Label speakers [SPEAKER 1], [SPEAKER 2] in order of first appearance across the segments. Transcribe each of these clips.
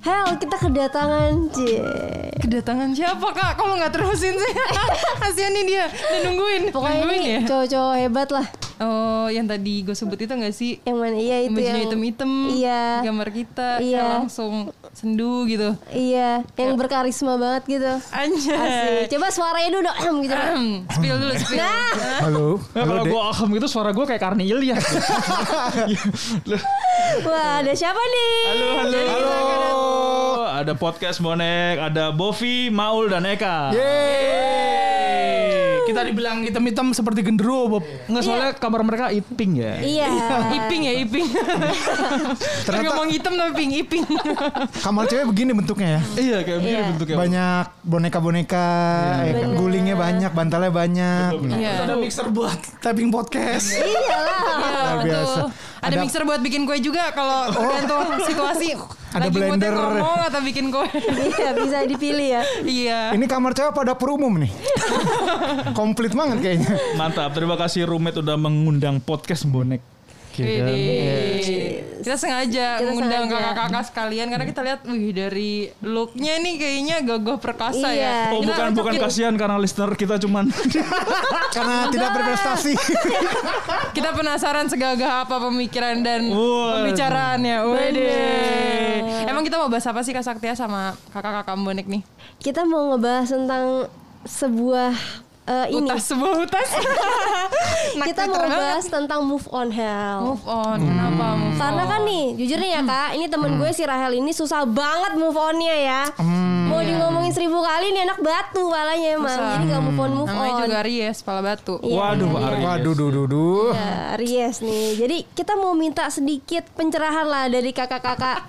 [SPEAKER 1] Hel, kita kedatangan Cie.
[SPEAKER 2] Kedatangan siapa kak? Kok lo gak terusin sih? Kasian nih dia, udah nungguin
[SPEAKER 1] Pokoknya
[SPEAKER 2] nungguin
[SPEAKER 1] ini
[SPEAKER 2] ya
[SPEAKER 1] cowok-cowok hebat lah.
[SPEAKER 2] Oh yang tadi gue sebut itu gak sih?
[SPEAKER 1] Yang mana iya itu
[SPEAKER 2] Bajunya
[SPEAKER 1] yang
[SPEAKER 2] hitam-hitam
[SPEAKER 1] Iya.
[SPEAKER 2] Gambar kita
[SPEAKER 1] Iya.
[SPEAKER 2] yang langsung sendu gitu
[SPEAKER 1] Iya, yang berkarisma banget gitu.
[SPEAKER 2] Anjay
[SPEAKER 1] Asik. Coba suaranya dulu dong, gitu.
[SPEAKER 2] Ahem, Spill dulu, spill
[SPEAKER 1] Nah,
[SPEAKER 3] Halo.
[SPEAKER 4] Nah,
[SPEAKER 3] Halo,
[SPEAKER 4] kalau
[SPEAKER 3] Dek.
[SPEAKER 4] gue ahem gitu suara gue kayak Karni Ilyas.
[SPEAKER 1] wah ada siapa nih?
[SPEAKER 4] halo, halo, halo. Ada podcast bonek, ada Bovi, Maul dan Eka.
[SPEAKER 3] Eh. Yeay.
[SPEAKER 5] Kita dibilang hitam-hitam seperti genderuwo, Bob.
[SPEAKER 4] Nggak soalnya kamar mereka iping ya.
[SPEAKER 1] Iya.
[SPEAKER 2] Iping ya, iping Ternyata
[SPEAKER 3] Ternyata
[SPEAKER 2] ngomong hitam tapi pink, iping
[SPEAKER 3] kamar cewek begini bentuknya ya.
[SPEAKER 4] Iya kayak begini
[SPEAKER 1] Iya.
[SPEAKER 4] bentuknya.
[SPEAKER 3] Banyak boneka-boneka, ya kan?
[SPEAKER 1] Bener.
[SPEAKER 3] gulingnya banyak, bantalnya banyak.
[SPEAKER 2] Iya
[SPEAKER 5] Ada mixer buat typing podcast.
[SPEAKER 1] Iya lah.
[SPEAKER 2] Iya,
[SPEAKER 3] Luar
[SPEAKER 2] betul.
[SPEAKER 3] biasa.
[SPEAKER 2] Ada,
[SPEAKER 3] Ada-
[SPEAKER 2] mixer buat bikin kue juga kalau tergantung situasi.
[SPEAKER 3] Ada
[SPEAKER 2] Lagi moodnya
[SPEAKER 3] blender.
[SPEAKER 2] ngomong atau bikin kue.
[SPEAKER 1] Iya, bisa dipilih ya.
[SPEAKER 2] iya.
[SPEAKER 3] Ini kamar cewek pada dapur umum nih. Komplit banget kayaknya.
[SPEAKER 4] Mantap, terima kasih Rumet udah mengundang podcast bonek. Iya kan?
[SPEAKER 2] Widih. Kita sengaja
[SPEAKER 1] Kita
[SPEAKER 2] mengundang
[SPEAKER 1] sengaja.
[SPEAKER 2] kakak-kakak sekalian karena kita lihat wih dari looknya nih kayaknya gagah perkasa
[SPEAKER 1] Iya.
[SPEAKER 2] ya.
[SPEAKER 4] Oh
[SPEAKER 2] Kita
[SPEAKER 4] bukan bukan
[SPEAKER 2] kita-
[SPEAKER 4] kasihan karena listener kita cuman
[SPEAKER 3] Karena tidak berprestasi.
[SPEAKER 2] Kita penasaran segagah apa pemikiran dan
[SPEAKER 4] Wah.
[SPEAKER 2] pembicaraannya. Widih. Emang kita mau bahas apa sih Kak Saktia sama kakak-kakak bonek nih?
[SPEAKER 1] Kita mau ngebahas tentang sebuah eh, ini.
[SPEAKER 2] Utas sebuah utas. Nak
[SPEAKER 1] Kita
[SPEAKER 2] Twitter
[SPEAKER 1] mau
[SPEAKER 2] banget.
[SPEAKER 1] bahas tentang move on hell.
[SPEAKER 2] Move on. Kenapa move
[SPEAKER 1] Karena kan nih, jujur nih
[SPEAKER 2] Hmm.
[SPEAKER 1] ya kak, ini temen gue si Rahel ini susah banget move onnya ya. Mau di ngomongin seribu kali nih anak batu palanya emang,
[SPEAKER 2] Hmm. Iya. Susah.
[SPEAKER 1] jadi gak move on move
[SPEAKER 2] Namanya
[SPEAKER 1] on.
[SPEAKER 2] juga Ries, pala batu.
[SPEAKER 1] Iya.
[SPEAKER 4] Waduh, Pak Aries.
[SPEAKER 3] Waduh, duh, duh, duh.
[SPEAKER 1] Ya, Ries nih. Jadi kita mau minta sedikit pencerahan lah dari kakak-kakak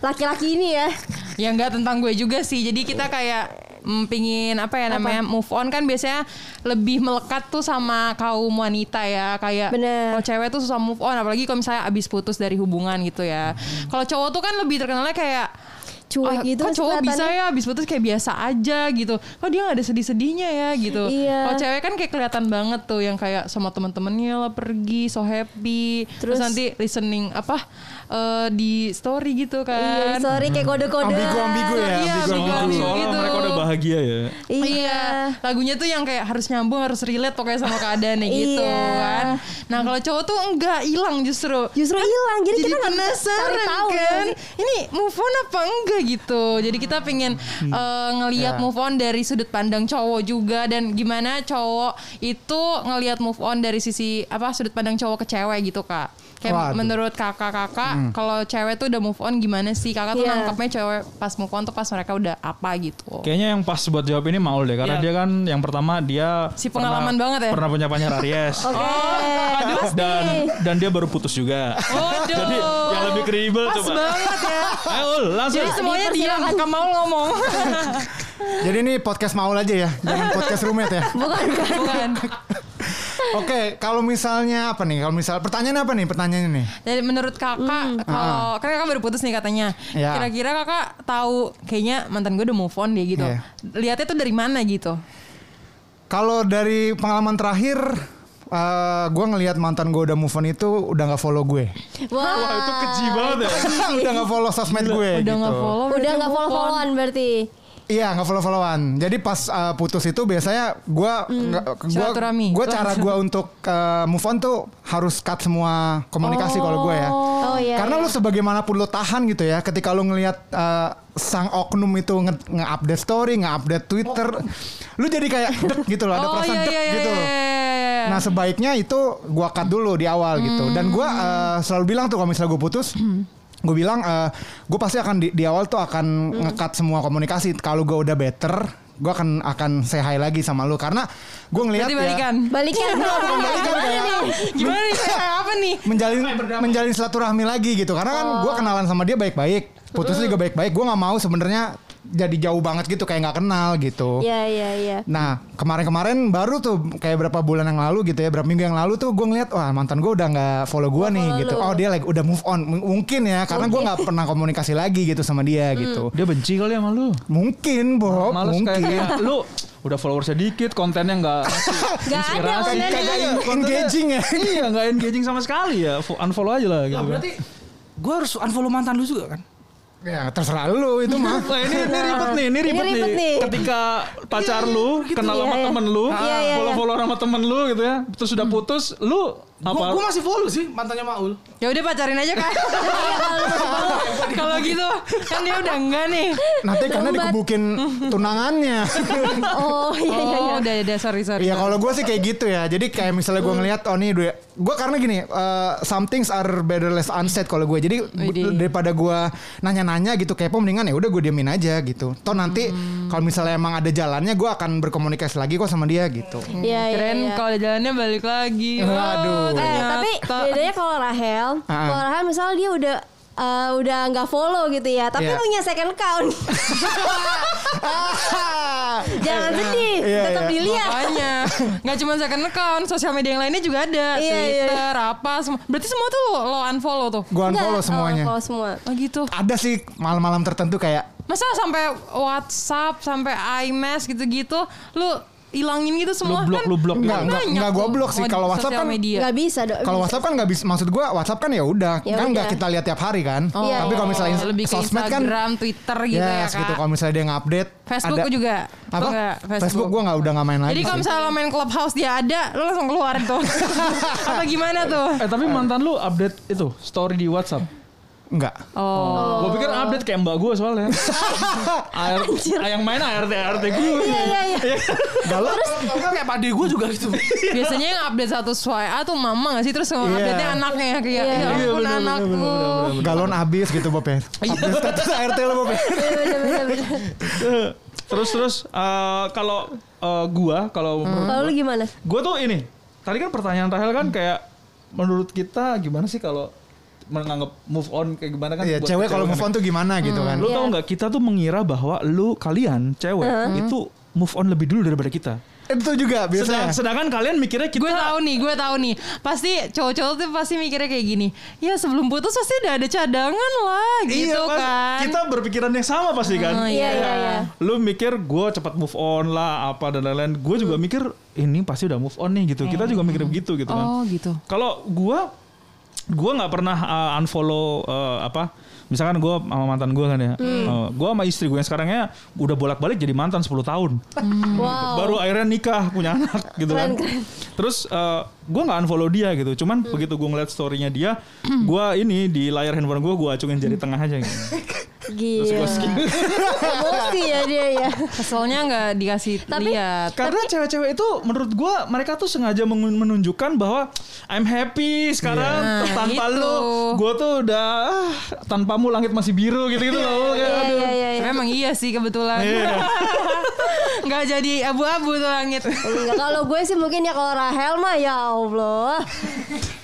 [SPEAKER 1] laki-laki ini ya.
[SPEAKER 2] Ya nggak tentang gue juga sih. Jadi kita
[SPEAKER 1] Oh.
[SPEAKER 2] kayak mm, pingin apa ya namanya move on kan biasanya lebih melekat tuh sama kaum wanita ya kayak
[SPEAKER 1] Bener.
[SPEAKER 2] kalau cewek tuh susah move on apalagi kalau misalnya abis putus dari hubungan gitu ya kalau cowok tuh kan lebih terkenalnya kayak
[SPEAKER 1] Hmm. Cuek
[SPEAKER 2] "Ah,
[SPEAKER 1] gitu
[SPEAKER 2] kok cowok bisa
[SPEAKER 1] kelihatannya."
[SPEAKER 2] ya abis putus kayak biasa aja gitu kok dia nggak ada sedih-sedihnya ya gitu
[SPEAKER 1] Iya.
[SPEAKER 2] kalau cewek kan kayak kelihatan banget tuh yang kayak sama temen-temennya lah pergi so happy terus,
[SPEAKER 1] Terus-
[SPEAKER 2] nanti listening apa eh, di story gitu
[SPEAKER 1] Iya,
[SPEAKER 2] kan
[SPEAKER 1] sorry kayak kode-kode.
[SPEAKER 3] Ambigu-ambigu ya,
[SPEAKER 2] Iya,
[SPEAKER 3] ambigu-ambigu.
[SPEAKER 2] ambigu-ambigu.
[SPEAKER 4] seolah
[SPEAKER 2] gitu.
[SPEAKER 4] mereka udah bahagia ya.
[SPEAKER 1] Iya.
[SPEAKER 2] Iya, lagunya tuh yang kayak harus nyambung, harus relate pokoknya sama keadaannya gitu
[SPEAKER 1] Iya.
[SPEAKER 2] kan. Nah kalau cowok tuh enggak hilang justru.
[SPEAKER 1] Justru hilang, jadi, kita nggak bisa
[SPEAKER 2] Kan penasaran
[SPEAKER 1] cari tahu
[SPEAKER 2] kan,
[SPEAKER 1] sih.
[SPEAKER 2] ini move on apa enggak gitu. Jadi kita pengen eh, ngelihat move on dari sudut pandang cowok juga dan gimana cowok itu ngelihat move on dari sisi apa sudut pandang cowok ke cewek gitu kak. Kayak
[SPEAKER 3] Waduh.
[SPEAKER 2] menurut kakak-kakak, kalau cewek tuh udah move on gimana sih? Kakak tuh
[SPEAKER 1] Iya.
[SPEAKER 2] nangkepnya cewek pas move on tuh pas mereka udah apa gitu.
[SPEAKER 4] Kayaknya yang pas buat jawab ini Maul deh karena
[SPEAKER 2] Iya.
[SPEAKER 4] dia kan yang pertama dia
[SPEAKER 2] Si pengalaman
[SPEAKER 4] pernah-
[SPEAKER 2] banget ya?
[SPEAKER 4] Pernah punya pacar Aries.
[SPEAKER 2] Oh,
[SPEAKER 1] Oke. pasti.
[SPEAKER 4] dan dan dia baru putus juga.
[SPEAKER 2] Waduh.
[SPEAKER 4] Jadi yang lebih kredibel
[SPEAKER 2] Pas
[SPEAKER 4] coba.
[SPEAKER 2] banget ya.
[SPEAKER 4] Ayo langsung.
[SPEAKER 2] Jadi semuanya diam,
[SPEAKER 1] dipersilakan.
[SPEAKER 2] gak mau ngomong.
[SPEAKER 3] Jadi ini podcast maul aja ya, jangan podcast roommate ya.
[SPEAKER 1] Bukan kan?
[SPEAKER 2] Bukan.
[SPEAKER 3] Oke, kalau misalnya apa nih? Kalau misal pertanyaan apa nih? Pertanyaannya nih.
[SPEAKER 2] Jadi menurut
[SPEAKER 1] Hmm.
[SPEAKER 2] kakak,
[SPEAKER 1] Ah,
[SPEAKER 2] kalau kan kakak baru putus nih katanya.
[SPEAKER 3] Ya.
[SPEAKER 2] Kira-kira kakak tahu kayaknya mantan gue udah move on deh gitu.
[SPEAKER 1] Ya.
[SPEAKER 3] Iya.
[SPEAKER 2] Lihatnya tuh dari mana gitu?
[SPEAKER 3] Kalau dari pengalaman terakhir eh gue ngelihat mantan gue udah move on itu udah nggak follow gue,
[SPEAKER 1] Wah,
[SPEAKER 4] Wah itu keji banget ya.
[SPEAKER 2] Ah.
[SPEAKER 3] udah nggak follow sosmed gue.
[SPEAKER 2] Udah
[SPEAKER 3] gitu.
[SPEAKER 2] nggak follow,
[SPEAKER 1] Udah
[SPEAKER 2] berarti
[SPEAKER 1] nggak
[SPEAKER 2] move on.
[SPEAKER 1] follow-followan berarti.
[SPEAKER 3] Iya nggak follow followan. Jadi pas eh, putus itu biasanya gue
[SPEAKER 2] Hmm,
[SPEAKER 3] nggak- gue
[SPEAKER 2] Silaturahmi.
[SPEAKER 3] gue cara gue untuk eh, move on tuh harus cut semua komunikasi kalau gue ya.
[SPEAKER 1] Oh iya.
[SPEAKER 3] Karena lu sebagaimanapun lu tahan gitu ya, ketika lu ngelihat eh, sang oknum itu nge- nge-update story, nge-update Twitter, lu jadi kayak dek gitu loh, ada
[SPEAKER 2] Oh
[SPEAKER 3] perasaan
[SPEAKER 2] iya
[SPEAKER 3] dek
[SPEAKER 2] iya iya.
[SPEAKER 3] gitu.
[SPEAKER 2] iya, iya. Hmm.
[SPEAKER 3] Nah sebaiknya itu gua cut dulu di awal gitu. Dan gua eh, selalu bilang tuh kalau misalnya gue putus, gue bilang gue pasti akan di, di awal tuh akan
[SPEAKER 2] Hmm.
[SPEAKER 3] ngekat semua komunikasi. Kalau gue udah better, gue akan akan say hi lagi sama lu karena gue ngelihat
[SPEAKER 2] Berarti balikan.
[SPEAKER 3] ya
[SPEAKER 1] Balikan. ya?
[SPEAKER 3] balikan, kayak-
[SPEAKER 2] Gimana nih? Kayak apa nih?
[SPEAKER 3] menjalin menjalin silaturahmi lagi gitu. Karena kan
[SPEAKER 2] Oh.
[SPEAKER 3] gua kenalan sama dia baik-baik, putus
[SPEAKER 2] Hmm.
[SPEAKER 3] juga baik-baik. Gua nggak mau sebenarnya jadi jauh banget gitu kayak nggak kenal gitu.
[SPEAKER 1] Iya, iya, iya.
[SPEAKER 3] Nah kemarin-kemarin baru tuh kayak berapa bulan yang lalu gitu ya berapa minggu yang lalu tuh gue ngeliat wah mantan gue udah nggak follow gue nih gitu oh dia like udah move on M- mungkin ya karena gue nggak pernah komunikasi lagi gitu sama dia gitu
[SPEAKER 4] Dia benci kali sama lu.
[SPEAKER 3] mungkin Bob
[SPEAKER 4] Males kayak,
[SPEAKER 3] Oh, mungkin
[SPEAKER 4] kayak lu udah followersnya dikit, kontennya nggak
[SPEAKER 1] Gak ada
[SPEAKER 4] Inspirasi.
[SPEAKER 1] kontennya.
[SPEAKER 3] Kagak en- engaging ya
[SPEAKER 4] iya nggak
[SPEAKER 3] Nah,
[SPEAKER 4] engaging sama sekali ya, Fo- unfollow aja lah. Gitu.
[SPEAKER 5] Berarti gue harus unfollow mantan lu juga kan?
[SPEAKER 3] Ya terserah lu itu mah.
[SPEAKER 4] Wah, ini, ini ribet nih, ini ribet,
[SPEAKER 1] ribet nih.
[SPEAKER 4] Ketika pacar lu kenal sama
[SPEAKER 1] Iya, iya.
[SPEAKER 4] temen lu,
[SPEAKER 1] Iya, iya, Hmm. iya.
[SPEAKER 4] follow-follow sama temen lu gitu ya, terus sudah putus, lu apa?
[SPEAKER 5] Gua, gua masih follow sih mantannya Maul.
[SPEAKER 2] Ya udah pacarin aja kan. Kalau gitu kan dia udah enggak nih.
[SPEAKER 3] Nanti karena dikebukin tunangannya.
[SPEAKER 1] Oh iya iya iya.
[SPEAKER 2] Oh, udah udah sorry sorry.
[SPEAKER 3] Iya kalau gue sih kayak gitu ya. Jadi kayak misalnya gue ngelihat oh nih gue gue karena gini eh, some things are better less unsaid kalau gue. Jadi gua-
[SPEAKER 2] Widih.
[SPEAKER 3] daripada gue nanya-nanya gitu kepo mendingan ya udah gue diamin aja gitu. Toh nanti
[SPEAKER 2] Hmm.
[SPEAKER 3] kalau misalnya emang ada jalannya gue akan berkomunikasi lagi kok sama dia gitu.
[SPEAKER 1] Iya iya.
[SPEAKER 2] Keren Iya,
[SPEAKER 1] iya.
[SPEAKER 2] kalau ada jalannya balik lagi.
[SPEAKER 3] Waduh.
[SPEAKER 2] Wah,
[SPEAKER 3] Eh,
[SPEAKER 1] Eh,
[SPEAKER 2] ternyata.
[SPEAKER 1] tapi bedanya kalau Rahel,
[SPEAKER 3] Ah.
[SPEAKER 1] kalau Rahel misalnya dia udah eh, udah nggak follow gitu ya, tapi
[SPEAKER 3] Iya.
[SPEAKER 1] punya second account. Jangan sedih,
[SPEAKER 3] Iya,
[SPEAKER 1] tetap
[SPEAKER 3] iya.
[SPEAKER 1] dilihat.
[SPEAKER 2] Makanya Gak cuma second account Sosial media yang lainnya juga ada
[SPEAKER 1] Iya, iya, iya.
[SPEAKER 2] Twitter apa semua Berarti semua tuh lo, lo unfollow tuh
[SPEAKER 3] Gue unfollow
[SPEAKER 1] Enggak,
[SPEAKER 3] semuanya.
[SPEAKER 1] unfollow semua.
[SPEAKER 2] Oh gitu
[SPEAKER 3] Ada sih malam-malam tertentu kayak
[SPEAKER 2] Masa sampai WhatsApp Sampai iMess gitu-gitu Lu hilangin gitu semua
[SPEAKER 4] blok, lu blok.
[SPEAKER 2] kan
[SPEAKER 3] Enggak, enggak,
[SPEAKER 2] banyak
[SPEAKER 3] enggak gua
[SPEAKER 2] tuh.
[SPEAKER 3] blok sih.
[SPEAKER 2] Oh, di
[SPEAKER 3] Kalau WhatsApp
[SPEAKER 2] sosial
[SPEAKER 3] kan-
[SPEAKER 2] media.
[SPEAKER 1] Nggak bisa Iya, dong.
[SPEAKER 3] Kalau WhatsApp kan nggak bisa, maksud gue WhatsApp kan ya udah,
[SPEAKER 1] Ya
[SPEAKER 3] kan nggak
[SPEAKER 1] udah.
[SPEAKER 3] kita lihat tiap hari kan.
[SPEAKER 2] Oh,
[SPEAKER 1] Iya,
[SPEAKER 3] Tapi kalau
[SPEAKER 1] iya,
[SPEAKER 3] misalnya
[SPEAKER 1] iya.
[SPEAKER 2] Lebih ke
[SPEAKER 3] sosmed kan,
[SPEAKER 2] Instagram Twitter gitu ya
[SPEAKER 3] yes,
[SPEAKER 2] kak
[SPEAKER 3] gitu. Kalau misalnya dia nge-update,
[SPEAKER 2] Facebook
[SPEAKER 3] ada-
[SPEAKER 2] gua juga
[SPEAKER 3] Apa?
[SPEAKER 2] Gua nggak,
[SPEAKER 3] Facebook, gue nggak udah nggak main lagi.
[SPEAKER 2] Jadi kalau
[SPEAKER 3] sih.
[SPEAKER 2] misalnya lo main clubhouse dia ada Lo langsung keluar tuh Apa gimana tuh
[SPEAKER 4] Eh tapi mantan lu update itu story di WhatsApp.
[SPEAKER 3] Enggak.
[SPEAKER 2] Oh
[SPEAKER 4] Gua pikir update kayak mbak gue soalnya. AR, yang main ART ART gue.
[SPEAKER 1] Iya iya iya.
[SPEAKER 3] Galau.
[SPEAKER 4] Iya,
[SPEAKER 5] Enggak Kan kayak pade gua juga gitu.
[SPEAKER 2] Biasanya yang update satu suai A tuh mama gak sih terus
[SPEAKER 4] Iya.
[SPEAKER 2] yeah. update-nya anaknya
[SPEAKER 1] Iya.
[SPEAKER 2] kayak ya ampun anakku.
[SPEAKER 3] Galon habis gitu Bob ya. Update status ART lo Bob ya.
[SPEAKER 4] Terus terus eh, kalau eh, gua kalau
[SPEAKER 1] Kalau lu gimana?
[SPEAKER 4] Gue tuh ini, tadi kan pertanyaan Rahel
[SPEAKER 3] Hmm.
[SPEAKER 4] kan kayak menurut kita gimana sih kalau menganggap move on kayak gimana kan?
[SPEAKER 3] Iya,
[SPEAKER 4] buat
[SPEAKER 3] cewek kalau move on tuh gimana gitu kan.
[SPEAKER 4] Lu
[SPEAKER 1] Iya.
[SPEAKER 4] tau nggak kita tuh mengira bahwa lu kalian cewek
[SPEAKER 3] Hmm.
[SPEAKER 4] itu move on lebih dulu daripada kita.
[SPEAKER 3] Itu juga
[SPEAKER 4] Sedang-
[SPEAKER 3] biasanya.
[SPEAKER 4] sedangkan kalian mikirnya kita
[SPEAKER 2] Gue tahu nih, gue tahu nih. Pasti cowok-cowok tuh pasti mikirnya kayak gini. Ya sebelum putus pasti udah ada cadangan lah
[SPEAKER 4] Iya,
[SPEAKER 2] gitu
[SPEAKER 4] pas-
[SPEAKER 2] kan.
[SPEAKER 4] Kita berpikiran yang sama pasti
[SPEAKER 2] Oh,
[SPEAKER 4] kan.
[SPEAKER 1] Iya iya iya.
[SPEAKER 4] Lu mikir gue cepat move on lah apa dan lain-lain. Gue juga
[SPEAKER 2] Hmm.
[SPEAKER 4] mikir ini pasti udah move on nih gitu. Kita juga mikir begitu gitu kan.
[SPEAKER 2] Iya. Oh gitu.
[SPEAKER 4] Kalau gua gua nggak pernah uh, unfollow uh, apa misalkan gua sama mantan gua kan ya. Uh, gua sama istri gua yang sekarangnya udah bolak-balik jadi mantan 10 tahun.
[SPEAKER 1] Wow.
[SPEAKER 4] Baru akhirnya nikah punya anak gitu kan. Terus uh, gua nggak unfollow dia gitu. Cuman begitu gua ngeliat story-nya dia, gua ini di layar handphone gua gua acungin jari tengah aja gitu.
[SPEAKER 1] Gila. Emosi ya dia ya.
[SPEAKER 2] Keselnya nggak dikasih
[SPEAKER 1] Tapi-
[SPEAKER 2] lihat.
[SPEAKER 4] Karena cewek-cewek itu menurut gua mereka tuh sengaja mengun- menunjukkan bahwa I'm happy sekarang
[SPEAKER 2] Nah,
[SPEAKER 4] tanpa
[SPEAKER 2] gitu.
[SPEAKER 4] lu. Gua tuh udah ah, tanpamu langit masih biru gitu-gitu loh. Kayak,
[SPEAKER 1] Iya
[SPEAKER 4] aduh.
[SPEAKER 1] iya iya. iya.
[SPEAKER 2] Memang iya sih kebetulan. Nggak jadi abu-abu tuh langit.
[SPEAKER 1] Enggak, kalau gue sih mungkin ya kalau Rahel mah ya Allah.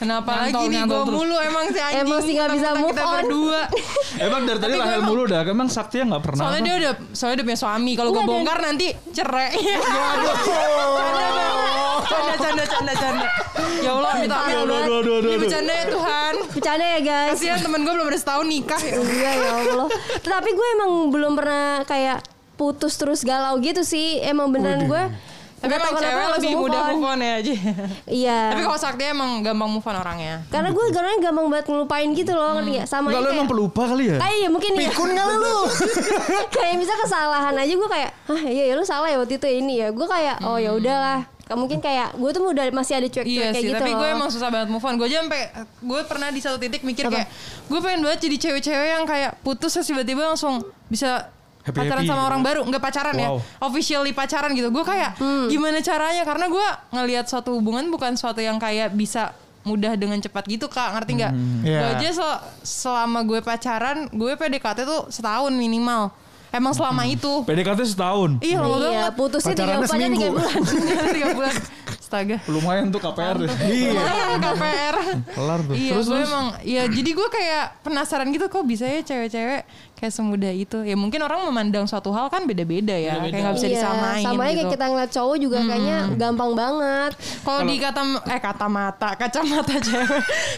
[SPEAKER 2] Kenapa lagi
[SPEAKER 5] Nyantol,
[SPEAKER 2] nih
[SPEAKER 5] nyantol
[SPEAKER 2] gue
[SPEAKER 5] terus.
[SPEAKER 2] mulu emang si anjing.
[SPEAKER 1] Emosi nggak bisa
[SPEAKER 2] mentang-mentang
[SPEAKER 1] move on.
[SPEAKER 2] Kita berdua.
[SPEAKER 4] Emang dari tadi
[SPEAKER 2] Tapi
[SPEAKER 4] Rahel
[SPEAKER 2] memang-
[SPEAKER 4] mulu dah. Emang Saktia nggak pernah.
[SPEAKER 2] Soalnya
[SPEAKER 4] apa?
[SPEAKER 2] dia udah soalnya dia punya suami. Kalau gue
[SPEAKER 1] Iya, dan-
[SPEAKER 2] bongkar nanti cerai. canda canda canda canda. Ya Allah minta amin.
[SPEAKER 1] Aduh,
[SPEAKER 4] aduh, aduh, aduh,
[SPEAKER 2] Ini
[SPEAKER 4] aduh.
[SPEAKER 2] bercanda ya Tuhan.
[SPEAKER 1] Bercanda ya guys.
[SPEAKER 2] Kasihan temen gue belum ada setahun nikah. ya.
[SPEAKER 1] Iya ya Allah. Tapi gue emang belum pernah kayak putus terus galau gitu sih. Emang beneran gue.
[SPEAKER 2] Tapi
[SPEAKER 1] nggak
[SPEAKER 2] emang
[SPEAKER 1] tahu kenapa
[SPEAKER 2] cewek
[SPEAKER 1] langsung
[SPEAKER 2] lebih mudah
[SPEAKER 1] on.
[SPEAKER 2] move on ya aja.
[SPEAKER 1] Iya.
[SPEAKER 2] Tapi kalau sakti emang gampang move on orangnya.
[SPEAKER 1] Karena gue karena gampang banget ngelupain gitu loh. ngerti nggak? Sama
[SPEAKER 4] Enggak lu
[SPEAKER 1] kayak-
[SPEAKER 4] emang pelupa kali ya?
[SPEAKER 1] Kayak ya mungkin ya.
[SPEAKER 3] Pikun nggak lu?
[SPEAKER 1] kayak misalnya kesalahan aja gue kayak ah iya ya lu salah ya waktu itu ya ini ya gue kayak oh ya udahlah Kayak mungkin kayak gue tuh udah masih ada cuek-cuek
[SPEAKER 2] Iya
[SPEAKER 1] kayak
[SPEAKER 2] sih,
[SPEAKER 1] gitu
[SPEAKER 2] tapi
[SPEAKER 1] loh.
[SPEAKER 2] gue emang susah banget move on. Gue aja sampai gue pernah di satu titik mikir kayak gue pengen banget jadi cewek-cewek yang kayak putus terus tiba-tiba langsung bisa
[SPEAKER 4] Happy-happy
[SPEAKER 2] pacaran sama
[SPEAKER 4] gitu.
[SPEAKER 2] orang baru, nggak pacaran
[SPEAKER 4] Wow.
[SPEAKER 2] ya, officially pacaran gitu. Gue kayak
[SPEAKER 1] Hmm.
[SPEAKER 2] gimana caranya? Karena gue ngelihat suatu hubungan bukan suatu yang kayak bisa mudah dengan cepat gitu kak ngerti nggak?
[SPEAKER 4] Hmm.
[SPEAKER 3] Iya.
[SPEAKER 2] Gue aja sel- selama gue pacaran, gue PDKT tuh setahun minimal. Emang selama
[SPEAKER 4] Hmm.
[SPEAKER 2] itu.
[SPEAKER 4] PDKT setahun.
[SPEAKER 2] Iya, lama
[SPEAKER 1] iya
[SPEAKER 2] banget.
[SPEAKER 1] putusnya tiga
[SPEAKER 3] Pacarannya
[SPEAKER 1] bulan tiga
[SPEAKER 3] seminggu.
[SPEAKER 1] bulan
[SPEAKER 2] Tiga bulan. Astaga.
[SPEAKER 4] Lumayan tuh KPR.
[SPEAKER 3] Iya.
[SPEAKER 2] Lumayan KPR.
[SPEAKER 4] Kelar tuh.
[SPEAKER 2] Iya, gue emang ya jadi gue kayak penasaran gitu kok bisa ya cewek-cewek kayak semudah itu. Ya mungkin orang memandang suatu hal kan beda-beda ya, kayak nggak bisa
[SPEAKER 1] Iya,
[SPEAKER 2] disamain
[SPEAKER 1] sama aja kayak
[SPEAKER 2] gitu.
[SPEAKER 1] kita ngeliat cowok juga kayaknya gampang banget
[SPEAKER 2] Kalau di kata eh kata mata, kacamata cewek.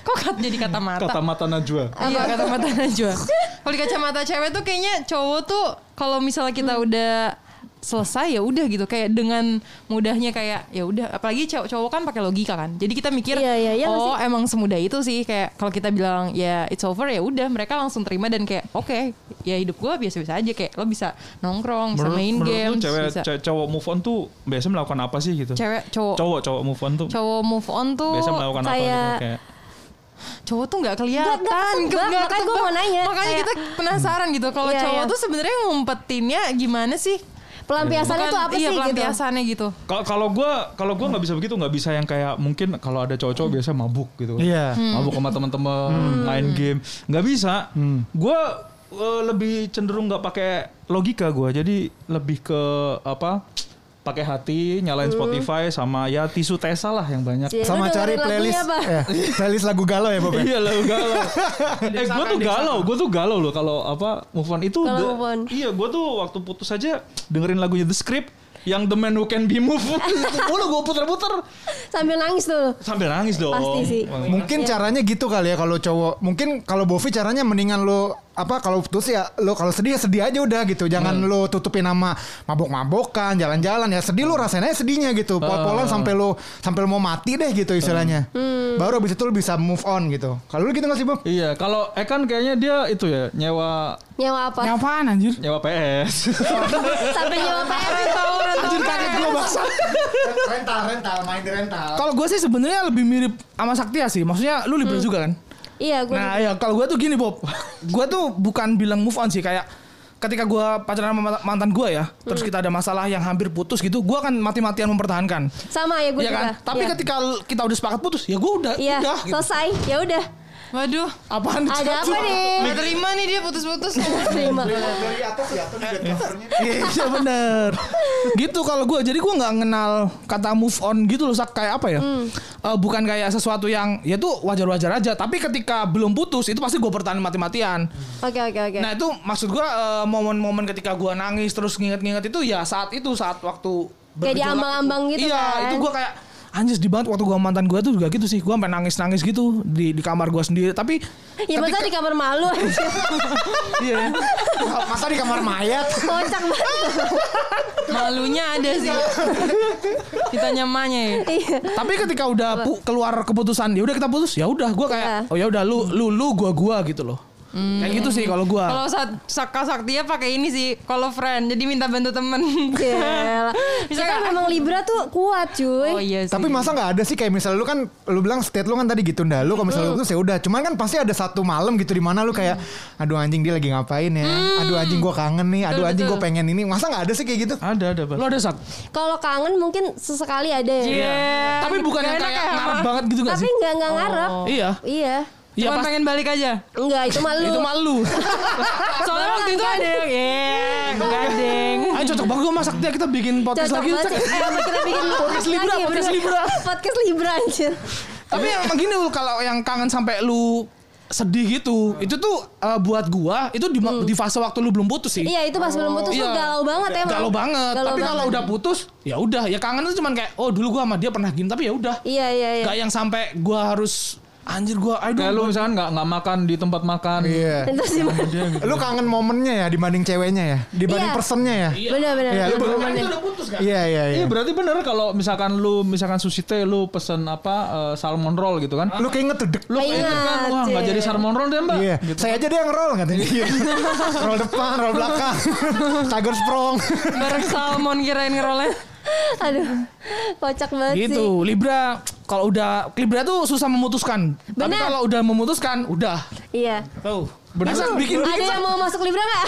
[SPEAKER 2] Kok kat- jadi kata mata?
[SPEAKER 4] Kata mata Najwa.
[SPEAKER 2] Iya kacamata
[SPEAKER 1] Hmm.
[SPEAKER 2] najwa. Kalau di kacamata cewek tuh kayaknya cowok tuh kalau misalnya kita udah selesai ya udah gitu kayak dengan mudahnya kayak ya udah apalagi cowok cowok kan pakai logika kan jadi kita mikir
[SPEAKER 1] Iya, iya, iya nggak
[SPEAKER 2] oh emang semudah itu sih kayak kalau kita bilang ya it's over ya udah mereka langsung terima dan kayak oke ya hidup gua biasa-biasa aja kayak lo bisa nongkrong bisa main
[SPEAKER 4] menurut
[SPEAKER 2] game
[SPEAKER 4] lu cewek
[SPEAKER 2] bisa
[SPEAKER 4] ce- cowok move on tuh biasanya melakukan apa sih gitu?
[SPEAKER 2] cewek cowok
[SPEAKER 4] Cowok cowok move on tuh
[SPEAKER 2] cowok move on tuh
[SPEAKER 4] biasanya melakukan apa gitu
[SPEAKER 1] kayak-
[SPEAKER 4] kayak
[SPEAKER 2] cowok tuh nggak kelihatan
[SPEAKER 1] Nggak- nggak ketebak,
[SPEAKER 2] nggak
[SPEAKER 1] makanya gua
[SPEAKER 2] ketebak.
[SPEAKER 1] mau nanya.
[SPEAKER 2] makanya
[SPEAKER 1] Kayak-
[SPEAKER 2] kita penasaran gitu kalau
[SPEAKER 1] Iya,
[SPEAKER 2] cowok
[SPEAKER 1] iya.
[SPEAKER 2] tuh sebenarnya ngumpetinnya gimana sih
[SPEAKER 1] Pelampiasannya
[SPEAKER 2] Bukan-
[SPEAKER 1] tuh apa
[SPEAKER 2] iya,
[SPEAKER 1] sih gitu?
[SPEAKER 2] pelampiasannya gitu
[SPEAKER 4] Kalau kalau gue kalau gua nggak bisa begitu nggak bisa yang kayak mungkin kalau ada cowok-cowok biasa mabuk gitu.
[SPEAKER 3] Iya.
[SPEAKER 1] Hmm.
[SPEAKER 4] Mabuk sama teman-teman main game nggak bisa. Gue lebih cenderung nggak pakai logika gue jadi lebih ke apa pakai hati nyalain
[SPEAKER 1] Hmm.
[SPEAKER 4] Spotify sama ya tisu tesa lah yang banyak.
[SPEAKER 1] Cie, lu
[SPEAKER 3] Sama
[SPEAKER 1] dengerin
[SPEAKER 3] cari
[SPEAKER 1] lagunya
[SPEAKER 3] playlist
[SPEAKER 1] apa?
[SPEAKER 3] eh, playlist lagu galau ya Bob. ya?
[SPEAKER 4] Iya lo galau. eh gue tuh galau, gue tuh galau loh kalau apa move on itu.
[SPEAKER 1] Kalau
[SPEAKER 4] the-
[SPEAKER 1] move on.
[SPEAKER 4] Iya gue tuh waktu putus aja dengerin lagunya The Script yang The Man Who Can Be Moved. Mulu gue puter-puter
[SPEAKER 1] Sambil nangis tuh.
[SPEAKER 4] sambil nangis dong.
[SPEAKER 1] Pasti sih.
[SPEAKER 4] Wah,
[SPEAKER 3] Mungkin caranya gitu kali ya kalau cowok. Mungkin kalau Bovi caranya mendingan lo apa kalau putus ya lo kalau sedih ya sedih aja udah gitu. Jangan lo tutupin nama mabok-mabokan, jalan-jalan ya sedih lo rasanya sedihnya gitu. Pol-polan sampai lo sampai lo mau mati deh gitu istilahnya. Baru abis itu lo bisa move on gitu. Kalau lo gitu nggak sih Bob?
[SPEAKER 4] Iya, kalau Ekan kayaknya dia itu ya nyewa
[SPEAKER 1] Nyawa apa?
[SPEAKER 6] Nyapaan anjir?
[SPEAKER 4] nyewa PS.
[SPEAKER 1] Sampai nyawa PR.
[SPEAKER 6] Anjir kaget gue baksa.
[SPEAKER 3] rental, rental, main di rental.
[SPEAKER 6] Kalau gue sih sebenarnya lebih mirip sama Saktia sih. Maksudnya lu libra juga kan?
[SPEAKER 1] Iya gue.
[SPEAKER 6] Nah ya kalau gue tuh gini Bob. gue tuh bukan bilang move on sih. Kayak ketika gue pacaran sama mant- mantan gue ya. Terus
[SPEAKER 1] Hmm.
[SPEAKER 6] kita ada masalah yang hampir putus gitu. Gue akan mati-matian mempertahankan.
[SPEAKER 1] Sama ya gue
[SPEAKER 6] Iya
[SPEAKER 1] juga.
[SPEAKER 6] kan? Tapi
[SPEAKER 1] Iya.
[SPEAKER 6] ketika l- kita udah sepakat putus. Ya gue udah.
[SPEAKER 1] Iya,
[SPEAKER 6] Udah. gitu.
[SPEAKER 1] selesai. Ya udah.
[SPEAKER 2] waduh
[SPEAKER 6] Apaan nih,
[SPEAKER 1] Ada apa
[SPEAKER 6] Cak?
[SPEAKER 1] nih?
[SPEAKER 2] nggak terima nih dia putus-putus
[SPEAKER 1] Terima.
[SPEAKER 3] dari atas ya, atau di
[SPEAKER 6] Iya bener Gitu kalau gue Jadi gue gak kenal Kata move on gitu loh Sak. Kayak apa ya
[SPEAKER 1] Hmm.
[SPEAKER 6] Eh, Bukan kayak sesuatu yang Ya tuh wajar-wajar aja Tapi ketika belum putus Itu pasti gue pertahanin mati-matian
[SPEAKER 1] Oke oke oke.
[SPEAKER 6] Nah itu maksud gue eh, Momen-momen ketika gue nangis Terus nginget-nginget itu Ya saat itu Saat waktu
[SPEAKER 1] Kayak
[SPEAKER 6] bergejolak
[SPEAKER 1] diambang-ambang
[SPEAKER 6] itu.
[SPEAKER 1] gitu
[SPEAKER 6] Iya
[SPEAKER 1] kan?
[SPEAKER 6] itu gue kayak Anjir sedih banget waktu gue mantan gue tuh juga gitu sih Gue sampai nangis-nangis gitu Di, di kamar gue sendiri Tapi
[SPEAKER 1] Ya masa di kamar malu aja.
[SPEAKER 6] Iya
[SPEAKER 3] Masa di kamar mayat?
[SPEAKER 1] Kocak banget.
[SPEAKER 2] malunya ada sih kita nyamanya ya
[SPEAKER 1] Iya.
[SPEAKER 6] Tapi ketika udah pu- keluar keputusan, ya udah kita putus, ya udah gua kayak
[SPEAKER 1] Iya. Hmm.
[SPEAKER 6] oh ya udah lu lu lu gua gua gitu loh. Kayak gitu sih kalau gua.
[SPEAKER 2] Kalau saat Saka Saktia pakai ini sih, kalau friend, jadi minta bantu temen.
[SPEAKER 1] Gila.
[SPEAKER 2] Bisa
[SPEAKER 1] Kita
[SPEAKER 2] nggak?
[SPEAKER 1] memang Libra tuh kuat cuy.
[SPEAKER 2] Oh iya sih.
[SPEAKER 3] Tapi masa nggak ada sih kayak misalnya lu kan lu bilang state lu kan tadi gitu ndak lu kalau misalnya lu tuh ya udah cuman kan pasti ada satu malam gitu di mana lu kayak aduh anjing dia lagi ngapain ya aduh anjing gua kangen nih aduh anjing gua pengen ini masa nggak ada sih kayak gitu
[SPEAKER 4] ada ada
[SPEAKER 6] Lu
[SPEAKER 4] bang.
[SPEAKER 6] ada sak.
[SPEAKER 1] Kalau kangen mungkin sesekali ada ya.
[SPEAKER 2] Iya.
[SPEAKER 6] Tapi bukan yang
[SPEAKER 2] Nggak enak
[SPEAKER 6] kayak
[SPEAKER 2] ya,
[SPEAKER 6] ngarep
[SPEAKER 2] Hama?
[SPEAKER 6] banget gitu gak
[SPEAKER 1] Tapi
[SPEAKER 6] sih?
[SPEAKER 1] nggak nggak ngarep.
[SPEAKER 6] Iya.
[SPEAKER 1] Iya.
[SPEAKER 6] Iya
[SPEAKER 2] Cuman
[SPEAKER 6] pas
[SPEAKER 2] pengen balik aja.
[SPEAKER 1] Enggak itu malu.
[SPEAKER 6] itu malu.
[SPEAKER 2] Soalnya waktu itu ada yang, iya, gandeng.
[SPEAKER 6] Ayo cocok banget gua masak dia kita bikin podcast
[SPEAKER 1] Cocok
[SPEAKER 6] lagi
[SPEAKER 1] banget
[SPEAKER 6] Cak.
[SPEAKER 1] sih. Eh, apa kita bikin podcast
[SPEAKER 6] Libra,
[SPEAKER 1] lagi ya,
[SPEAKER 6] podcast
[SPEAKER 1] bener.
[SPEAKER 6] Libra.
[SPEAKER 1] Podcast Libra anjir.
[SPEAKER 6] Tapi emang gini lu kalau yang kangen sampai lu sedih gitu, itu tuh eh, buat gua itu di, di fase waktu lu belum putus sih.
[SPEAKER 1] Hmm. Iya itu pas belum putus tuh
[SPEAKER 6] Iya.
[SPEAKER 1] galau banget emang.
[SPEAKER 6] Galau banget.
[SPEAKER 1] Galau
[SPEAKER 6] tapi kalau
[SPEAKER 1] banget.
[SPEAKER 6] udah putus, ya udah. Ya kangen tuh cuman kayak, oh dulu gua sama dia pernah gini, tapi ya udah.
[SPEAKER 1] Iya iya iya.
[SPEAKER 6] Gak yang sampai gua harus anjir gua aduh.
[SPEAKER 4] Kayak lu
[SPEAKER 6] gua-
[SPEAKER 4] misalkan nggak nggak makan di tempat makan.
[SPEAKER 3] iya
[SPEAKER 1] Terus gimana?
[SPEAKER 3] lu kangen momennya ya dibanding ceweknya ya
[SPEAKER 1] Iya.
[SPEAKER 3] dibanding personnya ya
[SPEAKER 1] Bener bener.
[SPEAKER 3] Iya, lu-
[SPEAKER 6] Kan itu udah putus kan?
[SPEAKER 3] iya iya iya
[SPEAKER 4] Iya berarti bener kalau misalkan lu misalkan sushi teh lu pesen apa eh, salmon roll gitu kan.
[SPEAKER 3] lu keinget tuh dek
[SPEAKER 4] Lu keinget kan
[SPEAKER 1] Ingat,
[SPEAKER 4] wah nggak
[SPEAKER 1] Cik.
[SPEAKER 4] jadi salmon roll deh mbak.
[SPEAKER 3] Iya, saya aja dia yang roll katanya. Iya. roll depan, roll belakang, tiger sprong.
[SPEAKER 2] Bareng salmon kirain ngerolnya.
[SPEAKER 1] Aduh. Kocak banget
[SPEAKER 6] Gitu,
[SPEAKER 1] sih.
[SPEAKER 6] Libra kalau udah Libra tuh susah memutuskan. Tapi
[SPEAKER 1] Bener.
[SPEAKER 6] kalau udah memutuskan, udah.
[SPEAKER 1] Iya.
[SPEAKER 6] Tuh. Benar. bikin
[SPEAKER 1] Ada yang mau masuk Libra nggak?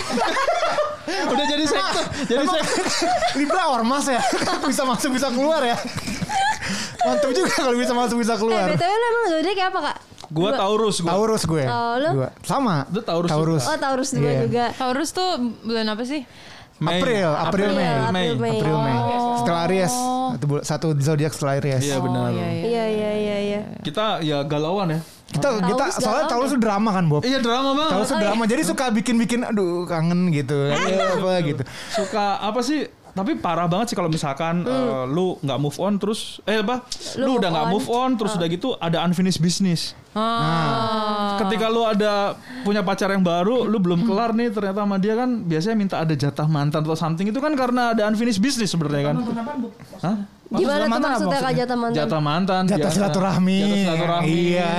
[SPEAKER 3] Udah jadi sektor, jadi sektor. Libra ormas ya, bisa masuk bisa keluar ya. Mantap juga kalau bisa masuk bisa
[SPEAKER 1] eh
[SPEAKER 3] keluar.
[SPEAKER 1] btw lu emang zodiak kayak apa kak?
[SPEAKER 4] Gua Taurus gua.
[SPEAKER 3] Taurus gue.
[SPEAKER 1] Oh, lu?
[SPEAKER 3] Dua. Sama.
[SPEAKER 4] Lu Taurus
[SPEAKER 1] Oh Taurus dua
[SPEAKER 3] Iya.
[SPEAKER 1] juga.
[SPEAKER 2] Taurus tuh bulan apa sih?
[SPEAKER 4] Mei.
[SPEAKER 3] April, April, Mei.
[SPEAKER 1] Iya, April, Mei. Oh,
[SPEAKER 3] April Mei. Setelah Aries, satu bul- satu zodiak setelah Aries.
[SPEAKER 4] Iya benar.
[SPEAKER 1] Iya iya iya iya.
[SPEAKER 4] Kita ya galauan ya.
[SPEAKER 3] Kita kita
[SPEAKER 1] Taurus
[SPEAKER 3] soalnya
[SPEAKER 1] galau Oh, iya.
[SPEAKER 3] Taurus tuh drama kan, Bob.
[SPEAKER 4] Iya drama banget.
[SPEAKER 3] Taurus tuh drama, jadi suka bikin-bikin aduh kangen gitu. Iya, apa gitu.
[SPEAKER 4] suka apa sih tapi parah banget sih kalau misalkan eh, lu nggak move on terus eh apa
[SPEAKER 1] Hmm. Lu
[SPEAKER 4] lu,
[SPEAKER 1] move
[SPEAKER 4] udah
[SPEAKER 1] on.
[SPEAKER 4] nggak
[SPEAKER 1] Ah.
[SPEAKER 4] move on terus udah gitu ada unfinished business
[SPEAKER 2] Ah.
[SPEAKER 4] Ketika
[SPEAKER 3] Ah.
[SPEAKER 4] lu ada punya pacar yang baru, lu
[SPEAKER 3] Hmm.
[SPEAKER 4] belum kelar nih ternyata sama dia kan biasanya minta ada jatah mantan atau something itu kan karena ada unfinished business sebenarnya kan. Hah?
[SPEAKER 1] Gimana tuh maksudnya Kak
[SPEAKER 6] mantan apa maksudnya?
[SPEAKER 1] jatah mantan?
[SPEAKER 4] Jatah mantan,
[SPEAKER 3] Jatah
[SPEAKER 4] biasa.
[SPEAKER 3] silaturahmi.
[SPEAKER 4] Jatah silaturahmi.
[SPEAKER 3] Iya.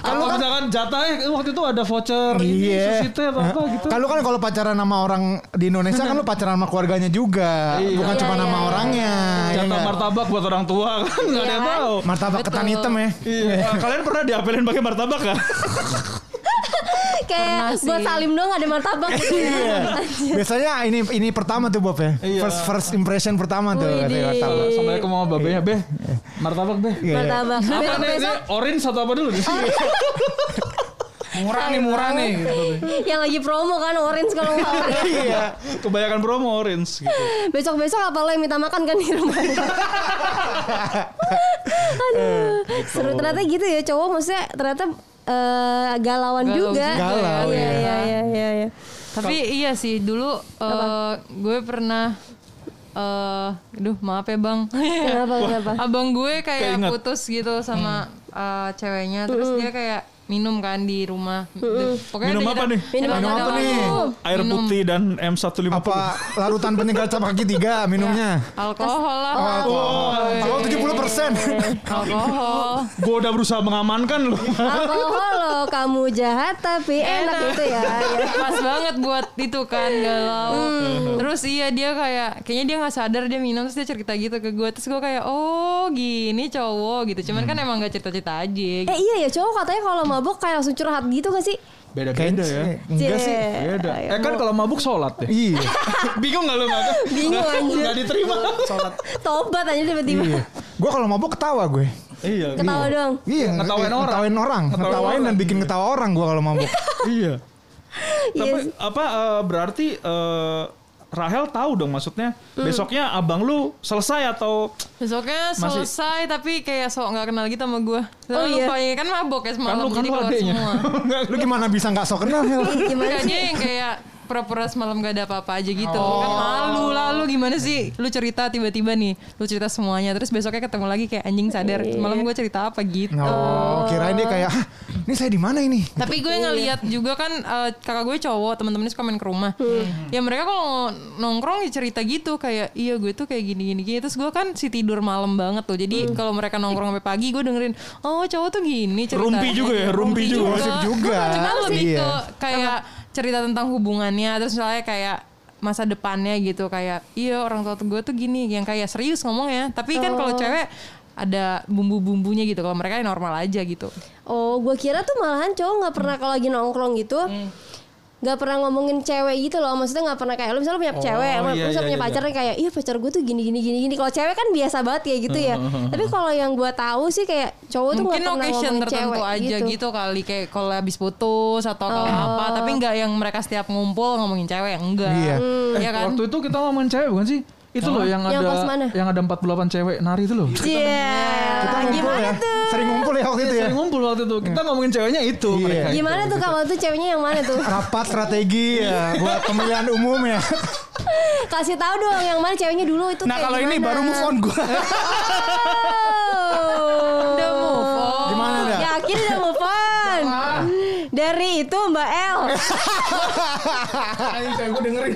[SPEAKER 4] Kalau misalkan jatahnya eh, waktu itu ada voucher ini sushi teh atau apa gitu.
[SPEAKER 3] Iya. Kalau kan kalau pacaran sama orang di Indonesia kan lu pacaran sama keluarganya juga,
[SPEAKER 4] Iya.
[SPEAKER 3] bukan
[SPEAKER 1] Iya,
[SPEAKER 3] cuma
[SPEAKER 1] iya,
[SPEAKER 3] nama
[SPEAKER 1] iya.
[SPEAKER 3] orangnya. iya
[SPEAKER 4] Jatah
[SPEAKER 3] nggak?
[SPEAKER 4] martabak buat orang tua kan nggak ada yang
[SPEAKER 1] Iya kan?
[SPEAKER 4] tahu.
[SPEAKER 3] martabak ketan hitam ya.
[SPEAKER 4] Iya. Kalian pernah diapelin pakai martabak kan?
[SPEAKER 1] Kayak
[SPEAKER 2] Pernah sih.
[SPEAKER 1] buat salim dong ada martabak. gitu ya.
[SPEAKER 3] Iya. Biasanya ini ini pertama tuh Bob ya.
[SPEAKER 4] Iya.
[SPEAKER 3] First first impression pertama tuh.
[SPEAKER 1] Widih.
[SPEAKER 3] martabak.
[SPEAKER 4] Assalamualaikum sama babenya, Beh. Martabak, Beh.
[SPEAKER 3] Iya.
[SPEAKER 1] Martabak.
[SPEAKER 4] Apa nih?
[SPEAKER 1] Besok-besok
[SPEAKER 4] Ini Orange atau apa dulu? nih?
[SPEAKER 6] Murah nih, murah nih. gitu.
[SPEAKER 1] yang lagi promo kan orange kalau nggak orange.
[SPEAKER 4] Iya. Kebanyakan promo orange gitu.
[SPEAKER 1] Besok-besok apa lo yang minta makan kan di rumah. Aduh, seru ternyata gitu ya cowok maksudnya ternyata eh, galauan
[SPEAKER 2] Galau
[SPEAKER 1] juga.
[SPEAKER 2] juga
[SPEAKER 3] Galau,
[SPEAKER 1] Iya
[SPEAKER 3] ya.
[SPEAKER 1] iya iya iya. iya.
[SPEAKER 2] Tapi iya sih dulu eh, gue pernah eh aduh maaf ya bang
[SPEAKER 1] Kenapa kenapa?
[SPEAKER 2] abang gue kayak
[SPEAKER 4] Keinget. Hmm.
[SPEAKER 2] putus gitu sama eh, ceweknya terus
[SPEAKER 1] Hmm.
[SPEAKER 2] dia kayak minum kan di rumah pokoknya gitu. ada
[SPEAKER 4] Minum apa
[SPEAKER 2] jeda-
[SPEAKER 4] nih?
[SPEAKER 1] Minum
[SPEAKER 2] jeda
[SPEAKER 1] apa
[SPEAKER 2] waktu.
[SPEAKER 1] nih?
[SPEAKER 4] Air
[SPEAKER 2] Minum
[SPEAKER 4] putih dan M150.
[SPEAKER 3] Apa larutan peninggal cap kaki tiga minumnya?
[SPEAKER 6] Ya.
[SPEAKER 2] alkohol lah
[SPEAKER 3] Oh, alkohol 70 persen.
[SPEAKER 2] alkohol
[SPEAKER 4] Gue udah berusaha mengamankan loh.
[SPEAKER 1] Alkohol lo kamu jahat tapi enak gitu ya. Iya.
[SPEAKER 2] pas banget buat itu kan galau
[SPEAKER 4] Hmm.
[SPEAKER 2] terus iya dia kayak kayaknya dia nggak sadar dia minum terus dia cerita gitu ke gue terus gue kayak oh gini cowok gitu cuman kan
[SPEAKER 4] Hmm.
[SPEAKER 2] emang gak cerita cerita aja gitu.
[SPEAKER 1] Eh iya ya cowok katanya kalau mabok kayak langsung curhat gitu gak sih?
[SPEAKER 4] Beda-beda ya.
[SPEAKER 3] Enggak sih.
[SPEAKER 1] Cie.
[SPEAKER 4] Beda.
[SPEAKER 1] Ayo,
[SPEAKER 4] Eh kan kalau mabuk sholat ya.
[SPEAKER 3] Iya.
[SPEAKER 4] Bingung gak lu gak?
[SPEAKER 1] Bingung anjir.
[SPEAKER 4] Gak diterima. Sholat.
[SPEAKER 1] Tobat aja tiba-tiba.
[SPEAKER 3] Iya. Gue kalau mabuk ketawa gue.
[SPEAKER 4] Iya.
[SPEAKER 1] Ketawa dong.
[SPEAKER 3] Iya,
[SPEAKER 4] Ngetawain orang.
[SPEAKER 3] Ngetawain orang,
[SPEAKER 4] Ngetawain
[SPEAKER 3] ngetawain dan
[SPEAKER 4] orang.
[SPEAKER 3] bikin ketawa orang gue kalau mabuk.
[SPEAKER 4] Iya.
[SPEAKER 1] Iya
[SPEAKER 4] Tapi apa eh, berarti eh, Rahel tahu dong maksudnya besoknya abang lu selesai atau
[SPEAKER 2] besoknya
[SPEAKER 4] Masih-
[SPEAKER 2] selesai tapi kayak sok nggak kenal gitu sama gue
[SPEAKER 1] Oh, iya.
[SPEAKER 2] lupa kan mabok ya
[SPEAKER 4] kan
[SPEAKER 2] semalam
[SPEAKER 4] lu
[SPEAKER 2] jadi
[SPEAKER 4] kan lu
[SPEAKER 2] keluar
[SPEAKER 4] adeknya.
[SPEAKER 2] semua
[SPEAKER 4] Enggak,
[SPEAKER 3] Lu gimana bisa nggak sok kenal? Hel?
[SPEAKER 1] Gimana
[SPEAKER 2] Enggak,
[SPEAKER 1] sih?
[SPEAKER 2] dia yang kayak pura-pura semalam gak ada apa-apa aja gitu
[SPEAKER 4] Oh.
[SPEAKER 2] kan malu lah lu gimana sih lu cerita tiba-tiba nih lu cerita semuanya terus besoknya ketemu lagi kayak anjing sadar
[SPEAKER 1] Iya.
[SPEAKER 2] semalam gue cerita apa gitu
[SPEAKER 3] Oh, kirain dia kayak, "Hah, ini saya di mana ini?
[SPEAKER 2] Tapi gue ngeliat juga kan eh, kakak gue cowok teman-temannya suka main ke rumah. Ya mereka kalau nongkrong ya cerita gitu kayak iya gue tuh kayak gini gini gini. Terus gue kan si tidur malam banget tuh. Jadi kalau mereka nongkrong sampai pagi gue dengerin oh cowok tuh gini cerita. Nah,
[SPEAKER 4] Rumpi juga ya, rumpi juga.
[SPEAKER 3] Gosip juga.
[SPEAKER 2] Cuma lebih
[SPEAKER 3] Iya.
[SPEAKER 2] ke kayak cerita tentang hubungannya terus misalnya kayak masa depannya gitu kayak iya orang tua tuh gue tuh gini yang kayak serius ngomongnya. Tapi kan kalau cewek ada bumbu-bumbunya gitu. Kalau mereka ya normal aja gitu.
[SPEAKER 1] Oh, gue kira tuh malahan cowok nggak pernah kalau lagi nongkrong gitu. nggak pernah ngomongin cewek gitu loh Maksudnya nggak pernah kayak Lu misalnya punya cewek
[SPEAKER 4] iya,
[SPEAKER 1] Lu misalnya
[SPEAKER 4] iya,
[SPEAKER 1] punya
[SPEAKER 4] iya.
[SPEAKER 1] pacar yang kayak Iya pacar gue tuh gini gini gini gini Kalau cewek kan biasa banget kayak gitu ya Tapi kalau yang gue tahu sih kayak Cowok tuh nggak
[SPEAKER 2] mungkin
[SPEAKER 1] pernah
[SPEAKER 2] occasion
[SPEAKER 1] ngomongin
[SPEAKER 2] tertentu
[SPEAKER 1] cewek
[SPEAKER 2] aja gitu. Oh. kali kayak kalau habis putus atau kalau apa tapi nggak yang mereka setiap ngumpul ngomongin cewek enggak
[SPEAKER 3] Iya.
[SPEAKER 2] ya kan
[SPEAKER 4] Waktu itu kita ngomongin cewek bukan sih? Itu loh yang,
[SPEAKER 1] Yang
[SPEAKER 4] ada
[SPEAKER 1] pas mana?
[SPEAKER 4] yang ada 48 cewek nari itu loh.
[SPEAKER 1] Iya
[SPEAKER 3] Kita
[SPEAKER 6] Ah,
[SPEAKER 3] ngumpul
[SPEAKER 1] Gimana
[SPEAKER 3] ya,
[SPEAKER 1] tuh?
[SPEAKER 3] sering ngumpul ya waktu itu ya.
[SPEAKER 4] Sering ngumpul waktu itu. Kita ngomongin ceweknya itu
[SPEAKER 3] Iya.
[SPEAKER 4] mereka.
[SPEAKER 1] Gimana tuh kalau tuh ceweknya yang mana tuh?
[SPEAKER 3] Rapat strategi ya buat pemilihan umum ya.
[SPEAKER 1] Kasih tahu dong yang mana ceweknya dulu itu
[SPEAKER 6] Nah
[SPEAKER 1] kayak
[SPEAKER 6] kalau ini
[SPEAKER 1] gimana.
[SPEAKER 6] baru move on gue.
[SPEAKER 1] Oh.
[SPEAKER 2] Udah move on.
[SPEAKER 3] Gimana, Dak?
[SPEAKER 1] Yakin udah move on? Dari itu Mbak El.
[SPEAKER 6] Ayo gue dengerin.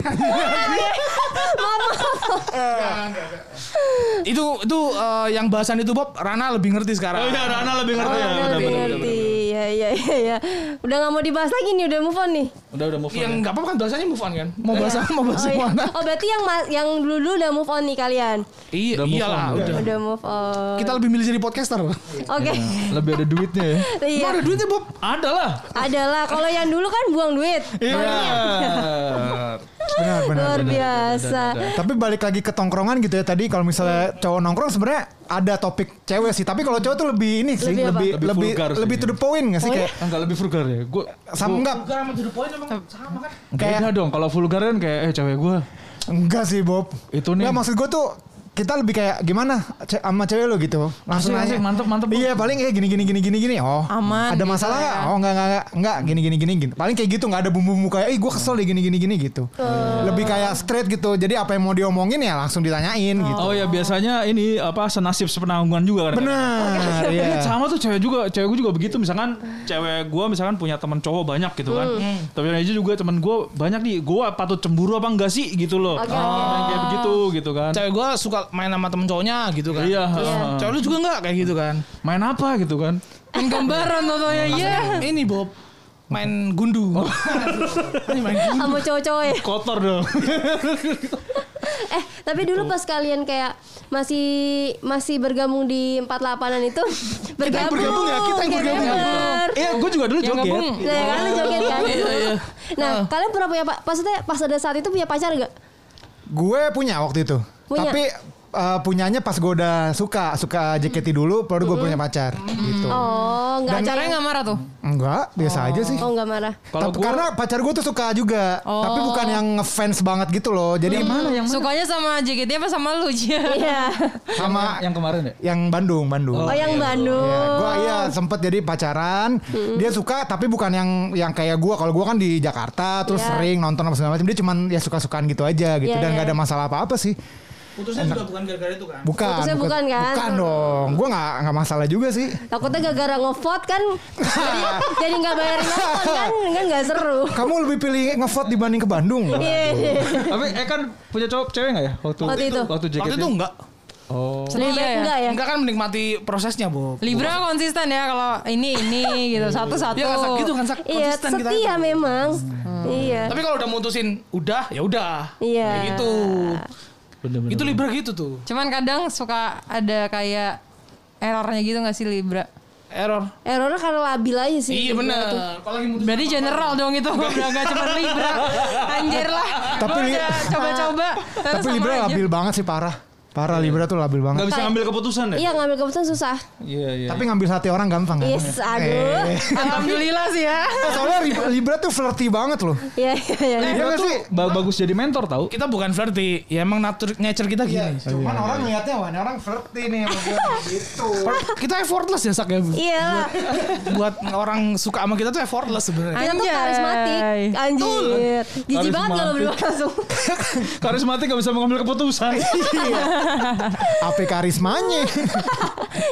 [SPEAKER 6] itu itu eh, yang bahasan itu Bob Rana lebih ngerti
[SPEAKER 4] Oh
[SPEAKER 6] sekarang.
[SPEAKER 4] iya, Rana lebih
[SPEAKER 1] Udah
[SPEAKER 4] ngerti ya. Udah,
[SPEAKER 1] lebih
[SPEAKER 4] udah,
[SPEAKER 1] ngerti. Iya iya iya. iya. Udah nggak mau dibahas lagi nih udah move on nih.
[SPEAKER 4] udah, udah move on.
[SPEAKER 6] Yang nggak apa-apa kan bahasanya move on kan. Mau bahas apa, mau bahas
[SPEAKER 1] Oh,
[SPEAKER 6] yang
[SPEAKER 1] iya.
[SPEAKER 6] mana?
[SPEAKER 1] oh berarti yang ma- yang dulu dulu udah move on nih kalian.
[SPEAKER 6] Iya,
[SPEAKER 4] Udah move
[SPEAKER 6] iyalah
[SPEAKER 4] on,
[SPEAKER 6] udah.
[SPEAKER 1] Udah move on.
[SPEAKER 6] Kita lebih milih jadi podcaster.
[SPEAKER 1] Oke.
[SPEAKER 4] Lebih ada duitnya ya.
[SPEAKER 1] Iya.
[SPEAKER 6] Ada duitnya Bob.
[SPEAKER 4] Ada lah.
[SPEAKER 1] Adalah kalau yang dulu kan buang duit.
[SPEAKER 4] Iya.
[SPEAKER 3] Benar benar.
[SPEAKER 1] Luar biasa.
[SPEAKER 3] Tapi balik lagi ke tongkrongan gitu ya tadi kalau misalnya cowok nongkrong sebenarnya ada topik cewek sih, tapi kalau cowok tuh lebih ini sih,
[SPEAKER 1] Lebih apa?
[SPEAKER 3] lebih
[SPEAKER 4] Lebih
[SPEAKER 3] lebih
[SPEAKER 4] vulgar
[SPEAKER 3] lebih,
[SPEAKER 4] sih.
[SPEAKER 3] to the point nggak sih kayak
[SPEAKER 4] Enggak lebih vulgar ya. Gua
[SPEAKER 3] sama enggak?
[SPEAKER 4] Beda dong kalau vulgar kan kayak eh cewek gua
[SPEAKER 3] Enggak sih Bob.
[SPEAKER 4] Itu nih.
[SPEAKER 3] Nggak, maksud gue tuh kita lebih kayak gimana ce- sama cewek lu gitu langsung aja
[SPEAKER 4] Asik, asik, mantep, mantep, Bu.
[SPEAKER 3] iya paling kayak gini gini gini gini gini oh
[SPEAKER 2] Aman gitu
[SPEAKER 3] ada masalah
[SPEAKER 2] ya.
[SPEAKER 3] nggak oh nggak nggak nggak nggak gini gini gini gini paling kayak gitu nggak ada bumbu bumbu kayak ih gue kesel deh gini gini gini gitu lebih kayak straight gitu jadi apa yang mau diomongin ya langsung ditanyain gitu
[SPEAKER 4] Oh ya biasanya ini apa senasib sepenanggungan juga kan.
[SPEAKER 3] benar iya
[SPEAKER 4] Iya, sama tuh cewek juga cewek gue juga begitu misalkan cewek gue misalkan punya teman cowok banyak gitu kan
[SPEAKER 1] Hmm.
[SPEAKER 4] tapi aja juga teman gue banyak nih gue patut cemburu apa enggak sih gitu loh
[SPEAKER 1] Oke, oke.
[SPEAKER 4] Nah, kayak begitu gitu kan
[SPEAKER 6] Cewek gue suka main sama temen cowoknya gitu kan.
[SPEAKER 4] iya
[SPEAKER 1] Iya.
[SPEAKER 4] heeh.
[SPEAKER 6] Cewek lu juga nggak kayak gitu kan?
[SPEAKER 4] main apa gitu kan
[SPEAKER 2] Main
[SPEAKER 3] Iya.
[SPEAKER 2] gambaran contohnya ya.
[SPEAKER 6] Ini Bob main gundu. Ini main gundu.
[SPEAKER 1] sama cowok-cowok ya.
[SPEAKER 4] kotor dong
[SPEAKER 1] Eh, tapi dulu
[SPEAKER 6] Gitu.
[SPEAKER 1] pas kalian kayak masih masih bergabung di 48-an itu bergabung.
[SPEAKER 6] bergabung ya, Iya, kita yang
[SPEAKER 1] kayak
[SPEAKER 6] bergabung.
[SPEAKER 1] member.
[SPEAKER 4] iya gue juga dulu
[SPEAKER 2] Yang
[SPEAKER 4] joget
[SPEAKER 2] gabung.
[SPEAKER 1] Nah, kan lu joget kan? Nah,
[SPEAKER 6] Ah.
[SPEAKER 1] kalian pernah punya pa- maksudnya pas ada saat itu punya pacar gak?
[SPEAKER 3] gue punya waktu itu
[SPEAKER 1] Punya.
[SPEAKER 3] tapi eh, punyanya pas gue udah suka suka JKT dulu baru gue punya pacar gitu
[SPEAKER 6] Hmm.
[SPEAKER 1] Oh, enggak ada.
[SPEAKER 2] Pacarnya nggak marah tuh.
[SPEAKER 3] enggak biasa aja sih
[SPEAKER 1] Oh, enggak marah.
[SPEAKER 3] Tapi-
[SPEAKER 4] Kalau gua-
[SPEAKER 3] karena pacar gue tuh suka juga, tapi
[SPEAKER 1] Oh.
[SPEAKER 3] bukan yang ngefans banget gitu loh. Jadi
[SPEAKER 2] Sukanya sama JKT apa sama lu Ji?
[SPEAKER 1] Iya.
[SPEAKER 3] sama yang,
[SPEAKER 4] yang kemarin ya
[SPEAKER 3] Bandung, Bandung.
[SPEAKER 1] Oh, Hmm. yang Bandung.
[SPEAKER 3] Iya, gua iya sempet jadi pacaran. Dia suka tapi bukan yang yang kayak gua. Kalau gua kan di Jakarta terus
[SPEAKER 1] Iya.
[SPEAKER 3] sering nonton apa segala macam. Dia cuman ya suka-sukaan gitu aja gitu
[SPEAKER 1] Iya,
[SPEAKER 3] dan
[SPEAKER 1] iya.
[SPEAKER 3] nggak ada masalah apa-apa sih.
[SPEAKER 6] Putusnya juga bukan gara-gara itu kan?
[SPEAKER 3] Bukan.
[SPEAKER 1] Putusnya bukan kan?
[SPEAKER 3] Bukan dong. Gua nggak nggak masalah juga sih.
[SPEAKER 1] Takutnya gara-gara ngevote kan jadi jadi nggak bayar nonton kan kan nggak seru.
[SPEAKER 3] Kamu lebih pilih ngevote dibanding ke Bandung.
[SPEAKER 1] Iya.
[SPEAKER 4] tapi eh kan punya cowok cewek nggak ya waktu
[SPEAKER 1] Waktu itu.
[SPEAKER 4] waktu ya? JKT
[SPEAKER 6] Waktu itu enggak.
[SPEAKER 4] oh
[SPEAKER 1] Lebih baik
[SPEAKER 2] Libra
[SPEAKER 1] enggak
[SPEAKER 2] ya.
[SPEAKER 1] ya?
[SPEAKER 6] Enggak kan menikmati prosesnya, Bob.
[SPEAKER 1] Iya.
[SPEAKER 3] Iya.
[SPEAKER 2] Libra konsisten ya kalau ini ini gitu satu satu.
[SPEAKER 6] Iya kan sak gitu kan sak
[SPEAKER 1] Iya,
[SPEAKER 6] konsisten kita. Hmm.
[SPEAKER 1] setia memang. Iya.
[SPEAKER 6] Tapi kalau udah mutusin udah ya udah.
[SPEAKER 1] Iya.
[SPEAKER 6] Kayak gitu.
[SPEAKER 4] bener-bener
[SPEAKER 6] Itu Libra gitu tuh.
[SPEAKER 2] Cuman kadang suka ada kayak errornya gitu nggak sih Libra?
[SPEAKER 6] Error.
[SPEAKER 1] Errornya Eh, karena labil aja sih.
[SPEAKER 6] Iya benar. Kalau lagi mutusin
[SPEAKER 2] Berarti general dong itu Udah gak cuma Libra Anjir lah
[SPEAKER 3] Tapi
[SPEAKER 2] Gua
[SPEAKER 3] li-
[SPEAKER 2] udah coba-coba ternyata
[SPEAKER 3] Tapi
[SPEAKER 2] sama
[SPEAKER 3] Libra
[SPEAKER 2] aja.
[SPEAKER 3] labil banget sih parah. Parah Libra tuh labil
[SPEAKER 4] nggak
[SPEAKER 3] banget.
[SPEAKER 4] bisa ngambil keputusan ya
[SPEAKER 1] Iya, ngambil keputusan susah.
[SPEAKER 4] iya iya
[SPEAKER 3] Tapi ngambil hati orang gampang kan?
[SPEAKER 1] Yes,
[SPEAKER 6] Nah. Eh.
[SPEAKER 1] aduh.
[SPEAKER 2] Alhamdulillah sih ya
[SPEAKER 3] Eh, Soalnya Libra- Libra tuh flirty banget loh.
[SPEAKER 1] Iya, iya, iya.
[SPEAKER 3] Iya nggak sih?
[SPEAKER 4] Ba- bagus jadi mentor tau
[SPEAKER 6] kita bukan flirty, ya emang nature nature kita gini.
[SPEAKER 3] Iya,
[SPEAKER 4] Iya.
[SPEAKER 3] Cuman orang ngeliatnya wah ini orang flirty nih sama gue gitu.
[SPEAKER 6] Kita effortless ya sak ya.
[SPEAKER 1] Iya.
[SPEAKER 6] Buat orang suka sama kita tuh effortless sebenarnya.
[SPEAKER 1] Kita tuh
[SPEAKER 2] Anjay.
[SPEAKER 1] karismatik. Anjir. Jijik banget kalau
[SPEAKER 4] Karismatik.
[SPEAKER 1] berdua langsung.
[SPEAKER 4] karismatik nggak bisa mengambil keputusan
[SPEAKER 3] Apa karismanya?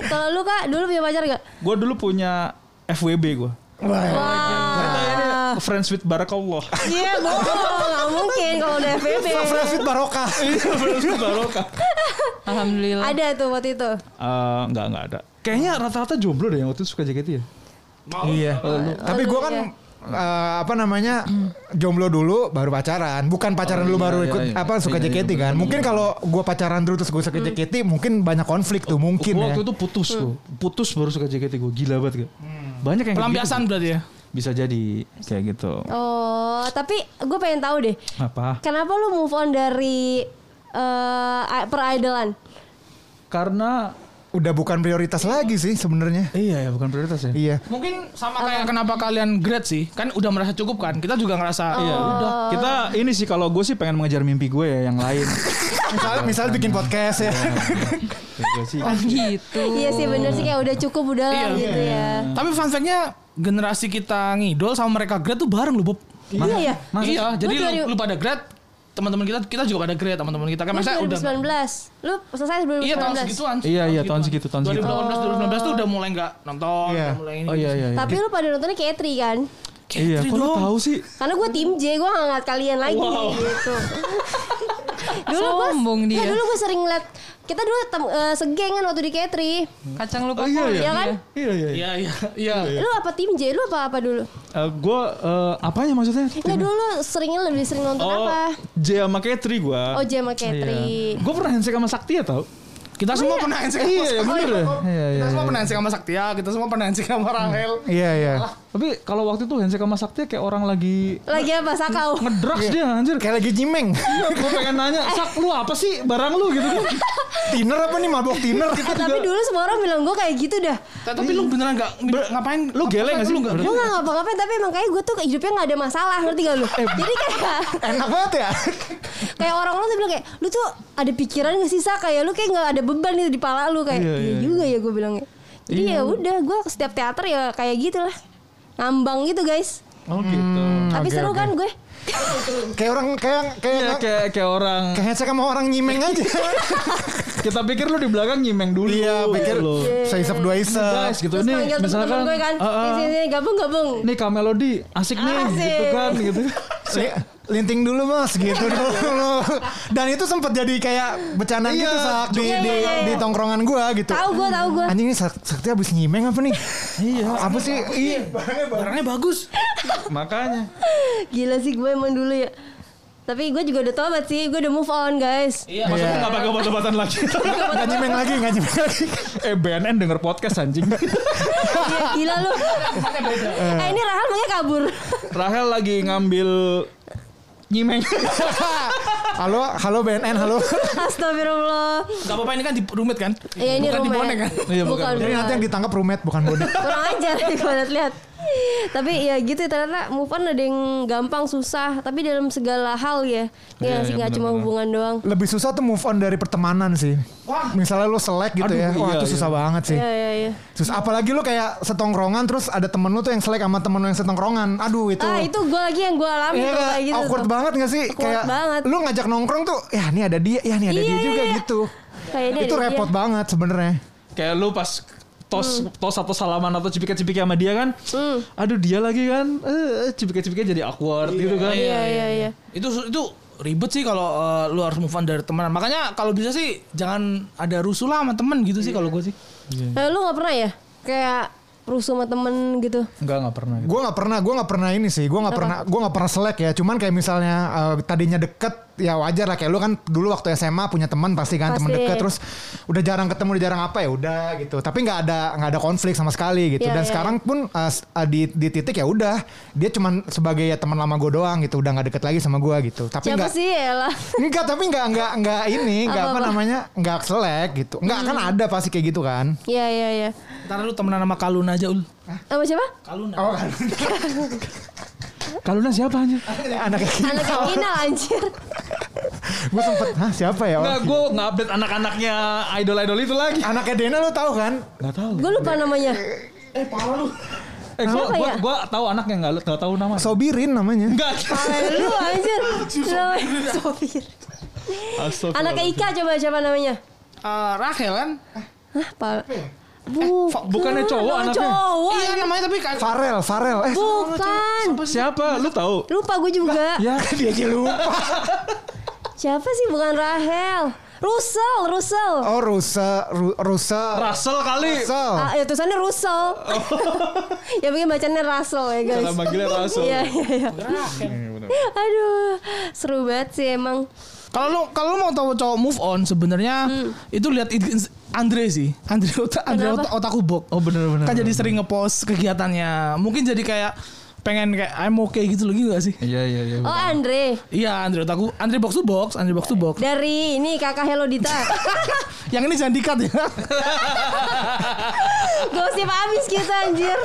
[SPEAKER 1] Kalau lu Kak, dulu punya pacar gak?
[SPEAKER 6] Eh,
[SPEAKER 4] gue dulu punya FWB gue
[SPEAKER 3] Wah.
[SPEAKER 1] Wah.
[SPEAKER 4] friends with barakallah
[SPEAKER 1] Iya, bohong. Gak mungkin kalau udah FBB.
[SPEAKER 3] Fresh with barokah.
[SPEAKER 6] Iya,
[SPEAKER 4] friends with barokah
[SPEAKER 2] Alhamdulillah
[SPEAKER 1] Ada tuh waktu itu.
[SPEAKER 4] Eh, nggak nggak ada kayaknya rata-rata jomblo deh yang waktu itu suka JKT ya
[SPEAKER 3] Iya. Tapi gue kan
[SPEAKER 4] iya.
[SPEAKER 3] eh, apa namanya jomblo dulu baru pacaran bukan pacaran dulu baru
[SPEAKER 4] iya,
[SPEAKER 3] ikut
[SPEAKER 4] iya.
[SPEAKER 3] apa suka
[SPEAKER 4] Iya, iya,
[SPEAKER 3] JKT
[SPEAKER 4] bener,
[SPEAKER 3] kan
[SPEAKER 4] bener,
[SPEAKER 3] mungkin
[SPEAKER 4] bener.
[SPEAKER 3] kalau gue pacaran dulu terus gue suka JKT mungkin banyak konflik tuh mungkin
[SPEAKER 4] Gua
[SPEAKER 3] ya
[SPEAKER 4] waktu itu putus gue Hmm. putus baru suka JKT gue gila banget gak banyak yang kayak
[SPEAKER 6] Hmm. Pelampiasan
[SPEAKER 4] gitu.
[SPEAKER 6] berarti ya.
[SPEAKER 4] bisa jadi kayak gitu
[SPEAKER 1] Oh, tapi gue pengen tahu deh.
[SPEAKER 4] apa
[SPEAKER 1] Kenapa lu move on dari eh peridolan?
[SPEAKER 4] karena
[SPEAKER 3] udah bukan prioritas lagi sih sebenarnya
[SPEAKER 4] iya ya bukan prioritas ya
[SPEAKER 3] iya
[SPEAKER 6] Mungkin sama kayak kenapa kalian grad sih? Kan udah merasa cukup Oh. kan? Kita juga ngerasa
[SPEAKER 1] Oh.
[SPEAKER 4] Iya, udah. Kita ini sih kalau gue sih pengen mengejar mimpi gue ya yang lain. Iya.
[SPEAKER 3] misalnya misalnya bikin podcast ya
[SPEAKER 4] gue sih.
[SPEAKER 2] Gitu
[SPEAKER 1] Iya sih bener sih kayak udah cukup udah lah
[SPEAKER 6] Iya.
[SPEAKER 1] gitu ya.
[SPEAKER 6] Tapi fun fact-nya generasi kita ngidol sama mereka grad tuh bareng loh, Bob.
[SPEAKER 1] Iya ya.
[SPEAKER 6] iya, jadi
[SPEAKER 1] Gua dari-
[SPEAKER 6] lu, lu pada grad, teman-teman kita kita juga pada grad, teman-teman kita
[SPEAKER 1] Lu
[SPEAKER 6] kan masa udah
[SPEAKER 1] 2019. Lu selesai
[SPEAKER 6] Iya tahun
[SPEAKER 1] 2019.
[SPEAKER 6] segituan.
[SPEAKER 4] Iya, iya, tahun segitu, tahun segitu.
[SPEAKER 6] 2018 2019 tuh udah mulai nggak nonton,
[SPEAKER 3] Iya.
[SPEAKER 6] udah mulai ini.
[SPEAKER 4] Oh iya iya. iya.
[SPEAKER 1] Tapi lu pada nontonnya Katri kan?
[SPEAKER 4] iya, kok lu tahu sih?
[SPEAKER 1] Karena gue tim J, gue gak ngeliat kalian lagi gitu. dulu gue,
[SPEAKER 2] Sombong dia.
[SPEAKER 1] Ya, dulu gue sering ngeliat, kita dulu tem, eh, segeng kan waktu di Katri.
[SPEAKER 2] Kacang lupa
[SPEAKER 4] iya,
[SPEAKER 2] kol
[SPEAKER 4] iya.
[SPEAKER 1] Ya kan?
[SPEAKER 4] Iya iya.
[SPEAKER 6] Iya iya Oh, iya.
[SPEAKER 1] Lu apa tim J? Lu apa apa dulu?
[SPEAKER 4] Eh, gue eh, apanya maksudnya?
[SPEAKER 1] Enggak dulu lu seringnya lebih sering nonton
[SPEAKER 6] Oh.
[SPEAKER 1] apa?
[SPEAKER 4] Oh, J sama Katri gue.
[SPEAKER 1] Oh J sama Katri.
[SPEAKER 6] Iya.
[SPEAKER 4] Gue Iya. pernah handshake sama Sakti ya tau?
[SPEAKER 6] Kita semua pernah handshake sama
[SPEAKER 4] Iya, bener ya. Iya,
[SPEAKER 6] Kita
[SPEAKER 4] iya. gitu.
[SPEAKER 6] semua pernah handshake sama Saktia, kita semua pernah handshake sama Rahel.
[SPEAKER 3] iya iya
[SPEAKER 4] Tapi kalau waktu itu Hensek sama Sakti kayak orang lagi
[SPEAKER 1] Lagi apa sakau?
[SPEAKER 4] ngedrugs dia anjir.
[SPEAKER 3] Kayak lagi nyimeng.
[SPEAKER 4] Gue pengen nanya, Sak lu apa sih barang lu gitu kan.
[SPEAKER 3] tiner apa nih mabok tiner?
[SPEAKER 1] Eh, tapi dulu semua orang bilang gue kayak gitu dah.
[SPEAKER 5] Tapi lu beneran gak ngapain?
[SPEAKER 4] Lu geleng gak sih? Berarti-
[SPEAKER 1] Gue gak ngapa-ngapain tapi emang kayak gue tuh kayak hidupnya gak ada masalah ngerti gak lu?
[SPEAKER 6] Eh,
[SPEAKER 1] Jadi kayak
[SPEAKER 3] Enak banget ya.
[SPEAKER 1] kayak orang lu tuh bilang kayak lu tuh ada pikiran gak sih Sa? kayak lu kayak gak ada beban itu di pala lu kayak iya,
[SPEAKER 4] Iya, iya, iya.
[SPEAKER 1] juga ya gue bilang jadi
[SPEAKER 4] Iya.
[SPEAKER 1] ya udah gue setiap teater ya kayak gitulah ngambang gitu guys
[SPEAKER 4] Oh gitu.
[SPEAKER 1] tapi
[SPEAKER 3] oke,
[SPEAKER 1] seru
[SPEAKER 3] oke.
[SPEAKER 1] kan gue
[SPEAKER 3] kayak orang kayak kayak
[SPEAKER 4] Iya kayak kayak orang
[SPEAKER 3] kayak headset sama orang nyimeng aja.
[SPEAKER 4] kita pikir lu di belakang nyimeng dulu.
[SPEAKER 3] Iya, pikir
[SPEAKER 4] lu.
[SPEAKER 3] seisep dua isep.
[SPEAKER 4] Guys gitu
[SPEAKER 1] terus
[SPEAKER 4] nih
[SPEAKER 1] panggil
[SPEAKER 4] misalkan
[SPEAKER 1] temen-temen gue kan
[SPEAKER 4] "Ah, ah,
[SPEAKER 1] sini sini gabung gabung
[SPEAKER 4] nih Kamelodi asik nih
[SPEAKER 1] Asik.
[SPEAKER 4] gitu kan gitu.
[SPEAKER 3] Li- Linting dulu mas gitu dulu. Dan itu sempet jadi kayak bercandaan
[SPEAKER 4] Iya,
[SPEAKER 3] gitu sak di,
[SPEAKER 1] iya,
[SPEAKER 3] di,
[SPEAKER 1] iya, iya.
[SPEAKER 3] di tongkrongan gua gitu.
[SPEAKER 1] tahu gue tahu gue
[SPEAKER 3] Anjing ini Sak- sakti abis nyimeng apa nih? Iya. Apa sih? Iya.
[SPEAKER 5] Barangnya bagus.
[SPEAKER 4] Makanya
[SPEAKER 1] gila sih gue emang dulu ya tapi gue juga udah tobat sih gue udah move on guys
[SPEAKER 6] Iya,
[SPEAKER 4] maksudnya nggak pakai obat-obatan lagi.
[SPEAKER 3] Gak nyimeng lagi, gak nyimeng lagi.
[SPEAKER 4] eh BNN denger podcast anjing.
[SPEAKER 1] Iya, gila lu
[SPEAKER 4] Iya.
[SPEAKER 1] eh ini Rahel makanya kabur
[SPEAKER 4] Rahel lagi ngambil nyimeng.
[SPEAKER 3] Halo, halo BNN, halo.
[SPEAKER 1] astagfirullah
[SPEAKER 5] Gak apa-apa ini kan di rumit kan?
[SPEAKER 1] ya ini
[SPEAKER 5] Bukan di
[SPEAKER 1] rumah
[SPEAKER 5] bonek kan?
[SPEAKER 4] Iya, bukan.
[SPEAKER 1] bukan
[SPEAKER 3] Jadi nanti
[SPEAKER 1] bukan.
[SPEAKER 3] yang ditangkap rumet bukan bodoh.
[SPEAKER 1] kurang ajar kalau lihat tapi ya gitu ternyata move on ada yang gampang susah tapi dalam segala hal ya ya
[SPEAKER 4] Iya,
[SPEAKER 1] sih
[SPEAKER 4] iya,
[SPEAKER 1] nggak cuma
[SPEAKER 4] benar-benar.
[SPEAKER 1] hubungan doang
[SPEAKER 3] Lebih susah tuh move on dari pertemanan sih. Misalnya lu selek gitu
[SPEAKER 4] Aduh,
[SPEAKER 3] ya. Wah,
[SPEAKER 4] iya,
[SPEAKER 3] itu susah
[SPEAKER 4] iya.
[SPEAKER 3] banget sih.
[SPEAKER 1] ya ya ya
[SPEAKER 3] Susah apalagi lu kayak setongkrongan terus ada temen lu tuh yang selek sama temen lu yang setongkrongan. Aduh, itu.
[SPEAKER 1] ah itu gue lagi yang gue alami
[SPEAKER 3] Iya
[SPEAKER 1] tuh
[SPEAKER 3] kan?
[SPEAKER 1] kayak gitu
[SPEAKER 3] awkward
[SPEAKER 1] tuh.
[SPEAKER 3] banget gak sih?
[SPEAKER 1] Awkward
[SPEAKER 3] kayak
[SPEAKER 1] banget.
[SPEAKER 3] lu ngajak nongkrong tuh, ya nih ada dia, ya nih ada
[SPEAKER 1] Iya,
[SPEAKER 3] dia
[SPEAKER 1] iya,
[SPEAKER 3] juga
[SPEAKER 1] iya.
[SPEAKER 3] gitu.
[SPEAKER 1] Kayaknya
[SPEAKER 3] itu
[SPEAKER 1] ada
[SPEAKER 3] repot
[SPEAKER 1] dia.
[SPEAKER 3] banget sebenarnya.
[SPEAKER 4] kayak lu pas tos tos atau salaman atau cipika-cipiki sama dia kan.
[SPEAKER 1] Hmm.
[SPEAKER 4] Aduan Aduh dia lagi kan. Eh cipika-cipiki jadi awkward gitu kan.
[SPEAKER 1] iya iya iya
[SPEAKER 5] Itu itu ribet sih kalau eh, lu harus move on dari teman. Makanya kalau bisa sih jangan ada rusuh lah sama temen gitu sih kalau gue sih.
[SPEAKER 3] Iya,
[SPEAKER 1] Eh, lu nggak pernah ya kayak rusuh sama temen gitu
[SPEAKER 4] Enggak enggak pernah gitu.
[SPEAKER 3] Gue nggak pernah, gue nggak pernah ini sih. Gue nggak pernah, gue nggak pernah selek ya. Cuman kayak misalnya eh, tadinya deket, ya wajar lah. Kayak lu kan dulu waktu SMA punya teman pasti kan teman
[SPEAKER 1] Pasti.
[SPEAKER 3] deket. Terus udah jarang ketemu, udah jarang apa ya udah gitu. Tapi nggak ada nggak ada konflik sama sekali gitu.
[SPEAKER 1] Iya,
[SPEAKER 3] Dan
[SPEAKER 1] iya,
[SPEAKER 3] sekarang pun eh, s- eh, di di titik ya udah dia cuman sebagai ya teman lama gue doang gitu. Udah nggak deket lagi sama gue gitu. Tapi
[SPEAKER 1] siapa
[SPEAKER 3] nggak
[SPEAKER 1] sih ya lah
[SPEAKER 3] Enggak, tapi enggak enggak enggak ini, enggak apa,
[SPEAKER 1] Apa-apa?
[SPEAKER 3] namanya? Enggak selek gitu. Enggak kan ada pasti kayak gitu kan.
[SPEAKER 1] Iya iya iya.
[SPEAKER 5] Ntar lu temenan sama Kalun aja ul.
[SPEAKER 1] Sama siapa?
[SPEAKER 5] Kalun.
[SPEAKER 3] Oh kan.
[SPEAKER 4] Kaluna siapa anjir?
[SPEAKER 3] Anak kayak
[SPEAKER 1] Anak yang Inal anjir.
[SPEAKER 3] gue sempet, hah siapa ya?
[SPEAKER 4] Enggak, gue nggak update anak-anaknya idol-idol itu lagi.
[SPEAKER 3] Anaknya Dena lu tahu kan?
[SPEAKER 4] Nggak tahu.
[SPEAKER 1] Gue lupa namanya.
[SPEAKER 4] Eh, gue
[SPEAKER 1] Siapa
[SPEAKER 4] gua,
[SPEAKER 1] ya?
[SPEAKER 4] gua tahu anaknya nggak lu- nggak tahu nama.
[SPEAKER 3] Sobirin namanya.
[SPEAKER 4] Enggak.
[SPEAKER 1] Lu anjir. Namanya Sopir. Anaknya Ika coba siapa namanya?
[SPEAKER 5] Eh, Rahel kan?
[SPEAKER 1] Hah, Pak. Bukan.
[SPEAKER 4] ya? Eh, bukannya cowok
[SPEAKER 1] Nama
[SPEAKER 4] anaknya.
[SPEAKER 1] Cowok.
[SPEAKER 5] Iya namanya tapi kan
[SPEAKER 3] Farel, Farel. Eh,
[SPEAKER 1] Bukan.
[SPEAKER 4] Kan Siapa? Lu tahu?
[SPEAKER 1] Lupa gue juga.
[SPEAKER 4] Ya,
[SPEAKER 3] dia aja lupa.
[SPEAKER 1] Siapa sih bukan Rahel? Russell, Russell.
[SPEAKER 3] Oh, Rusa, Ru, Rusa.
[SPEAKER 4] Russell kali.
[SPEAKER 3] Russell.
[SPEAKER 1] Ah, ya tulisannya Russell. ya mungkin bacanya Russell ya guys.
[SPEAKER 4] Cara Oh. manggilnya Russell.
[SPEAKER 1] Iya iya iya. Aduh, seru banget sih emang.
[SPEAKER 5] Kalau lu kalau lu mau tahu cowok move on sebenarnya itu lihat id- Andre sih. Andre otak Andre
[SPEAKER 1] Kenapa?
[SPEAKER 5] otak, otakku bok.
[SPEAKER 4] Oh bener-bener.
[SPEAKER 5] Kan jadi sering ngepost kegiatannya. Mungkin jadi kayak pengen kayak I'm okay gitu loh gitu gak sih?
[SPEAKER 4] Iya iya iya.
[SPEAKER 1] Oh Andre,
[SPEAKER 5] Iya Andre otakku Andre box to box, Andre box to box.
[SPEAKER 1] dari ini kakak Hello Dita.
[SPEAKER 5] Yang ini jangan dikat ya.
[SPEAKER 1] Gosip habis kita anjir.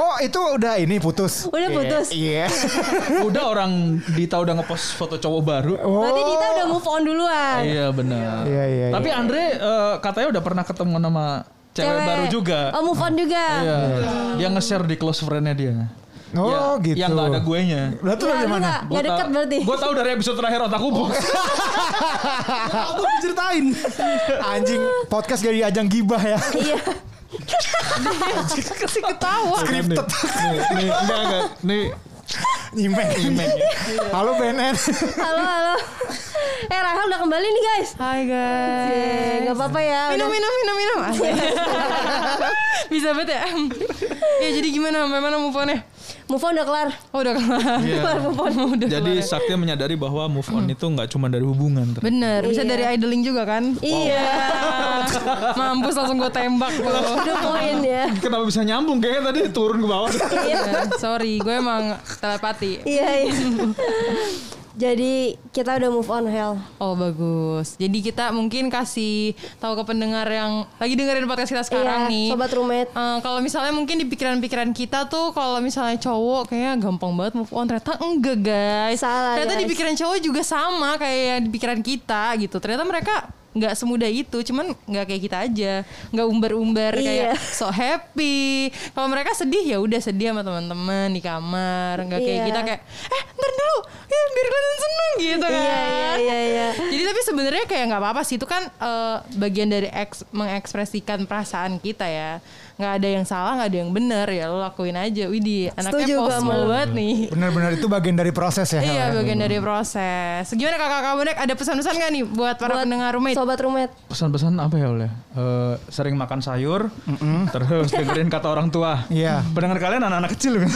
[SPEAKER 3] Oh, itu udah ini putus.
[SPEAKER 1] Udah putus.
[SPEAKER 3] Iya.
[SPEAKER 4] Udah orang Dita udah ngepost foto cowok baru.
[SPEAKER 1] Berarti Dita udah move on duluan.
[SPEAKER 4] Iya benar.
[SPEAKER 3] Iya, iya,
[SPEAKER 4] Tapi Andre eh, katanya udah pernah ketemu nama cewek, baru juga.
[SPEAKER 1] Oh move on juga.
[SPEAKER 4] Iya. Dia nge-share di close friend-nya dia.
[SPEAKER 3] Oh,
[SPEAKER 4] Ya,
[SPEAKER 3] gitu.
[SPEAKER 4] Yang gak ada guenya.
[SPEAKER 3] Lah tuh
[SPEAKER 1] Nah,
[SPEAKER 3] dari
[SPEAKER 1] lu
[SPEAKER 3] mana?
[SPEAKER 1] nggak- nggak dekat berarti.
[SPEAKER 4] Gue tau dari episode terakhir otakku box.
[SPEAKER 5] Aku ceritain.
[SPEAKER 3] Anjing, podcast jadi ajang gibah ya.
[SPEAKER 1] Iya.
[SPEAKER 5] Kasih ketawa.
[SPEAKER 4] Scripted. Nih, nih, enggak, enggak. Nih,
[SPEAKER 3] Nyimeng. Halo BNN.
[SPEAKER 1] Halo halo. Eh Rahel udah kembali nih guys.
[SPEAKER 2] Hai
[SPEAKER 1] Eh,
[SPEAKER 2] guys.
[SPEAKER 1] nggak apa-apa ya.
[SPEAKER 2] Minum,
[SPEAKER 1] udah.
[SPEAKER 2] minum, minum, minum. Asik. Bisa banget ya. ya jadi gimana? Bagaimana move on-nya?
[SPEAKER 1] Move on udah kelar.
[SPEAKER 2] Oh udah kelar.
[SPEAKER 4] Iya.
[SPEAKER 2] Kelar move on. Udah
[SPEAKER 4] Jadi
[SPEAKER 2] kelar. ya.
[SPEAKER 4] Sakti menyadari bahwa move on itu nggak cuma dari hubungan. ter-
[SPEAKER 2] Bener, bisa
[SPEAKER 1] Iya.
[SPEAKER 2] dari idling juga kan?
[SPEAKER 1] Iya.
[SPEAKER 2] Mampus langsung gue tembak loh.
[SPEAKER 1] Udah poin ya.
[SPEAKER 4] Kenapa bisa nyambung? Kayaknya tadi turun ke bawah.
[SPEAKER 2] Iya, Sorry, gue emang telepati.
[SPEAKER 1] Iya. iya. Jadi kita udah move on Hel.
[SPEAKER 2] Oh bagus. Jadi kita mungkin kasih tahu ke pendengar yang lagi dengerin podcast kita
[SPEAKER 1] Iya,
[SPEAKER 2] sekarang nih.
[SPEAKER 1] sobat roommate.
[SPEAKER 2] Eh, kalau misalnya mungkin di pikiran-pikiran kita tuh kalau misalnya cowok kayaknya gampang banget move on. Ternyata enggak guys.
[SPEAKER 1] Salah,
[SPEAKER 2] Ternyata di
[SPEAKER 1] guys.
[SPEAKER 2] pikiran cowok juga sama kayak yang di pikiran kita gitu. Ternyata mereka nggak semudah itu, cuman nggak kayak kita aja, nggak umbar-umbar
[SPEAKER 1] Iya.
[SPEAKER 2] kayak so happy. Kalau mereka sedih ya udah sedih sama teman-teman di kamar, nggak kayak
[SPEAKER 1] Iya.
[SPEAKER 2] kita kayak eh ntar dulu, ya biar kalian seneng gitu kan.
[SPEAKER 1] Iya iya iya iya.
[SPEAKER 2] Jadi tapi sebenarnya kayak nggak apa-apa sih itu kan eh, bagian dari eks- mengekspresikan perasaan kita ya. Nggak ada yang salah, nggak ada yang benar ya lo lakuin aja. Widih, anaknya
[SPEAKER 1] Setuju,
[SPEAKER 2] possible
[SPEAKER 1] Gamal.
[SPEAKER 2] banget nih.
[SPEAKER 3] Benar-benar itu bagian dari proses ya. Hel,
[SPEAKER 2] Iya
[SPEAKER 3] ya?
[SPEAKER 2] bagian dari proses. Gimana kakak-kakak bonek ada pesan-pesan nggak nih buat para
[SPEAKER 1] Buat
[SPEAKER 2] pendengar roommate?
[SPEAKER 1] Sobat roommate.
[SPEAKER 4] Pesan-pesan apa ya oleh? Eh, sering makan sayur, terus dengerin kata orang tua.
[SPEAKER 3] Iya.
[SPEAKER 4] Pendengar kalian anak-anak kecil. kan?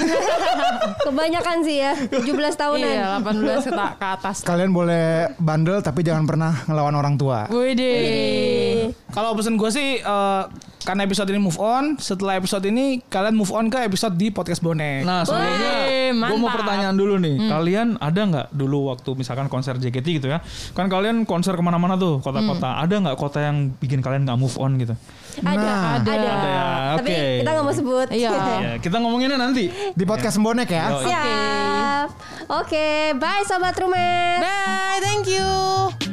[SPEAKER 1] Kebanyakan sih ya. 17 tahunan.
[SPEAKER 2] Iya 18 ke, ke atas.
[SPEAKER 3] Kalian boleh bandel tapi jangan pernah ngelawan orang tua.
[SPEAKER 2] Widih.
[SPEAKER 6] Kalau pesan gue sih eh, karena episode ini move on, setelah episode ini kalian move on ke episode di podcast bonek.
[SPEAKER 4] Nah, sebelumnya
[SPEAKER 2] Wih,
[SPEAKER 4] gue mau
[SPEAKER 2] mantap.
[SPEAKER 4] pertanyaan dulu nih. Kalian ada nggak dulu waktu misalkan konser JKT gitu ya? Kan kalian konser kemana-mana tuh, kota-kota. Ada nggak kota yang bikin kalian nggak move on gitu?
[SPEAKER 2] Nah,
[SPEAKER 1] Ada, ada.
[SPEAKER 4] Ada ya,
[SPEAKER 1] Tapi
[SPEAKER 4] oke.
[SPEAKER 1] kita nggak mau sebut.
[SPEAKER 2] Iya.
[SPEAKER 4] Ya, kita ngomonginnya nanti.
[SPEAKER 3] Di podcast Bonek ya.
[SPEAKER 4] Yo,
[SPEAKER 1] Siap. Oke, bye sobat roommate.
[SPEAKER 2] Bye, thank you.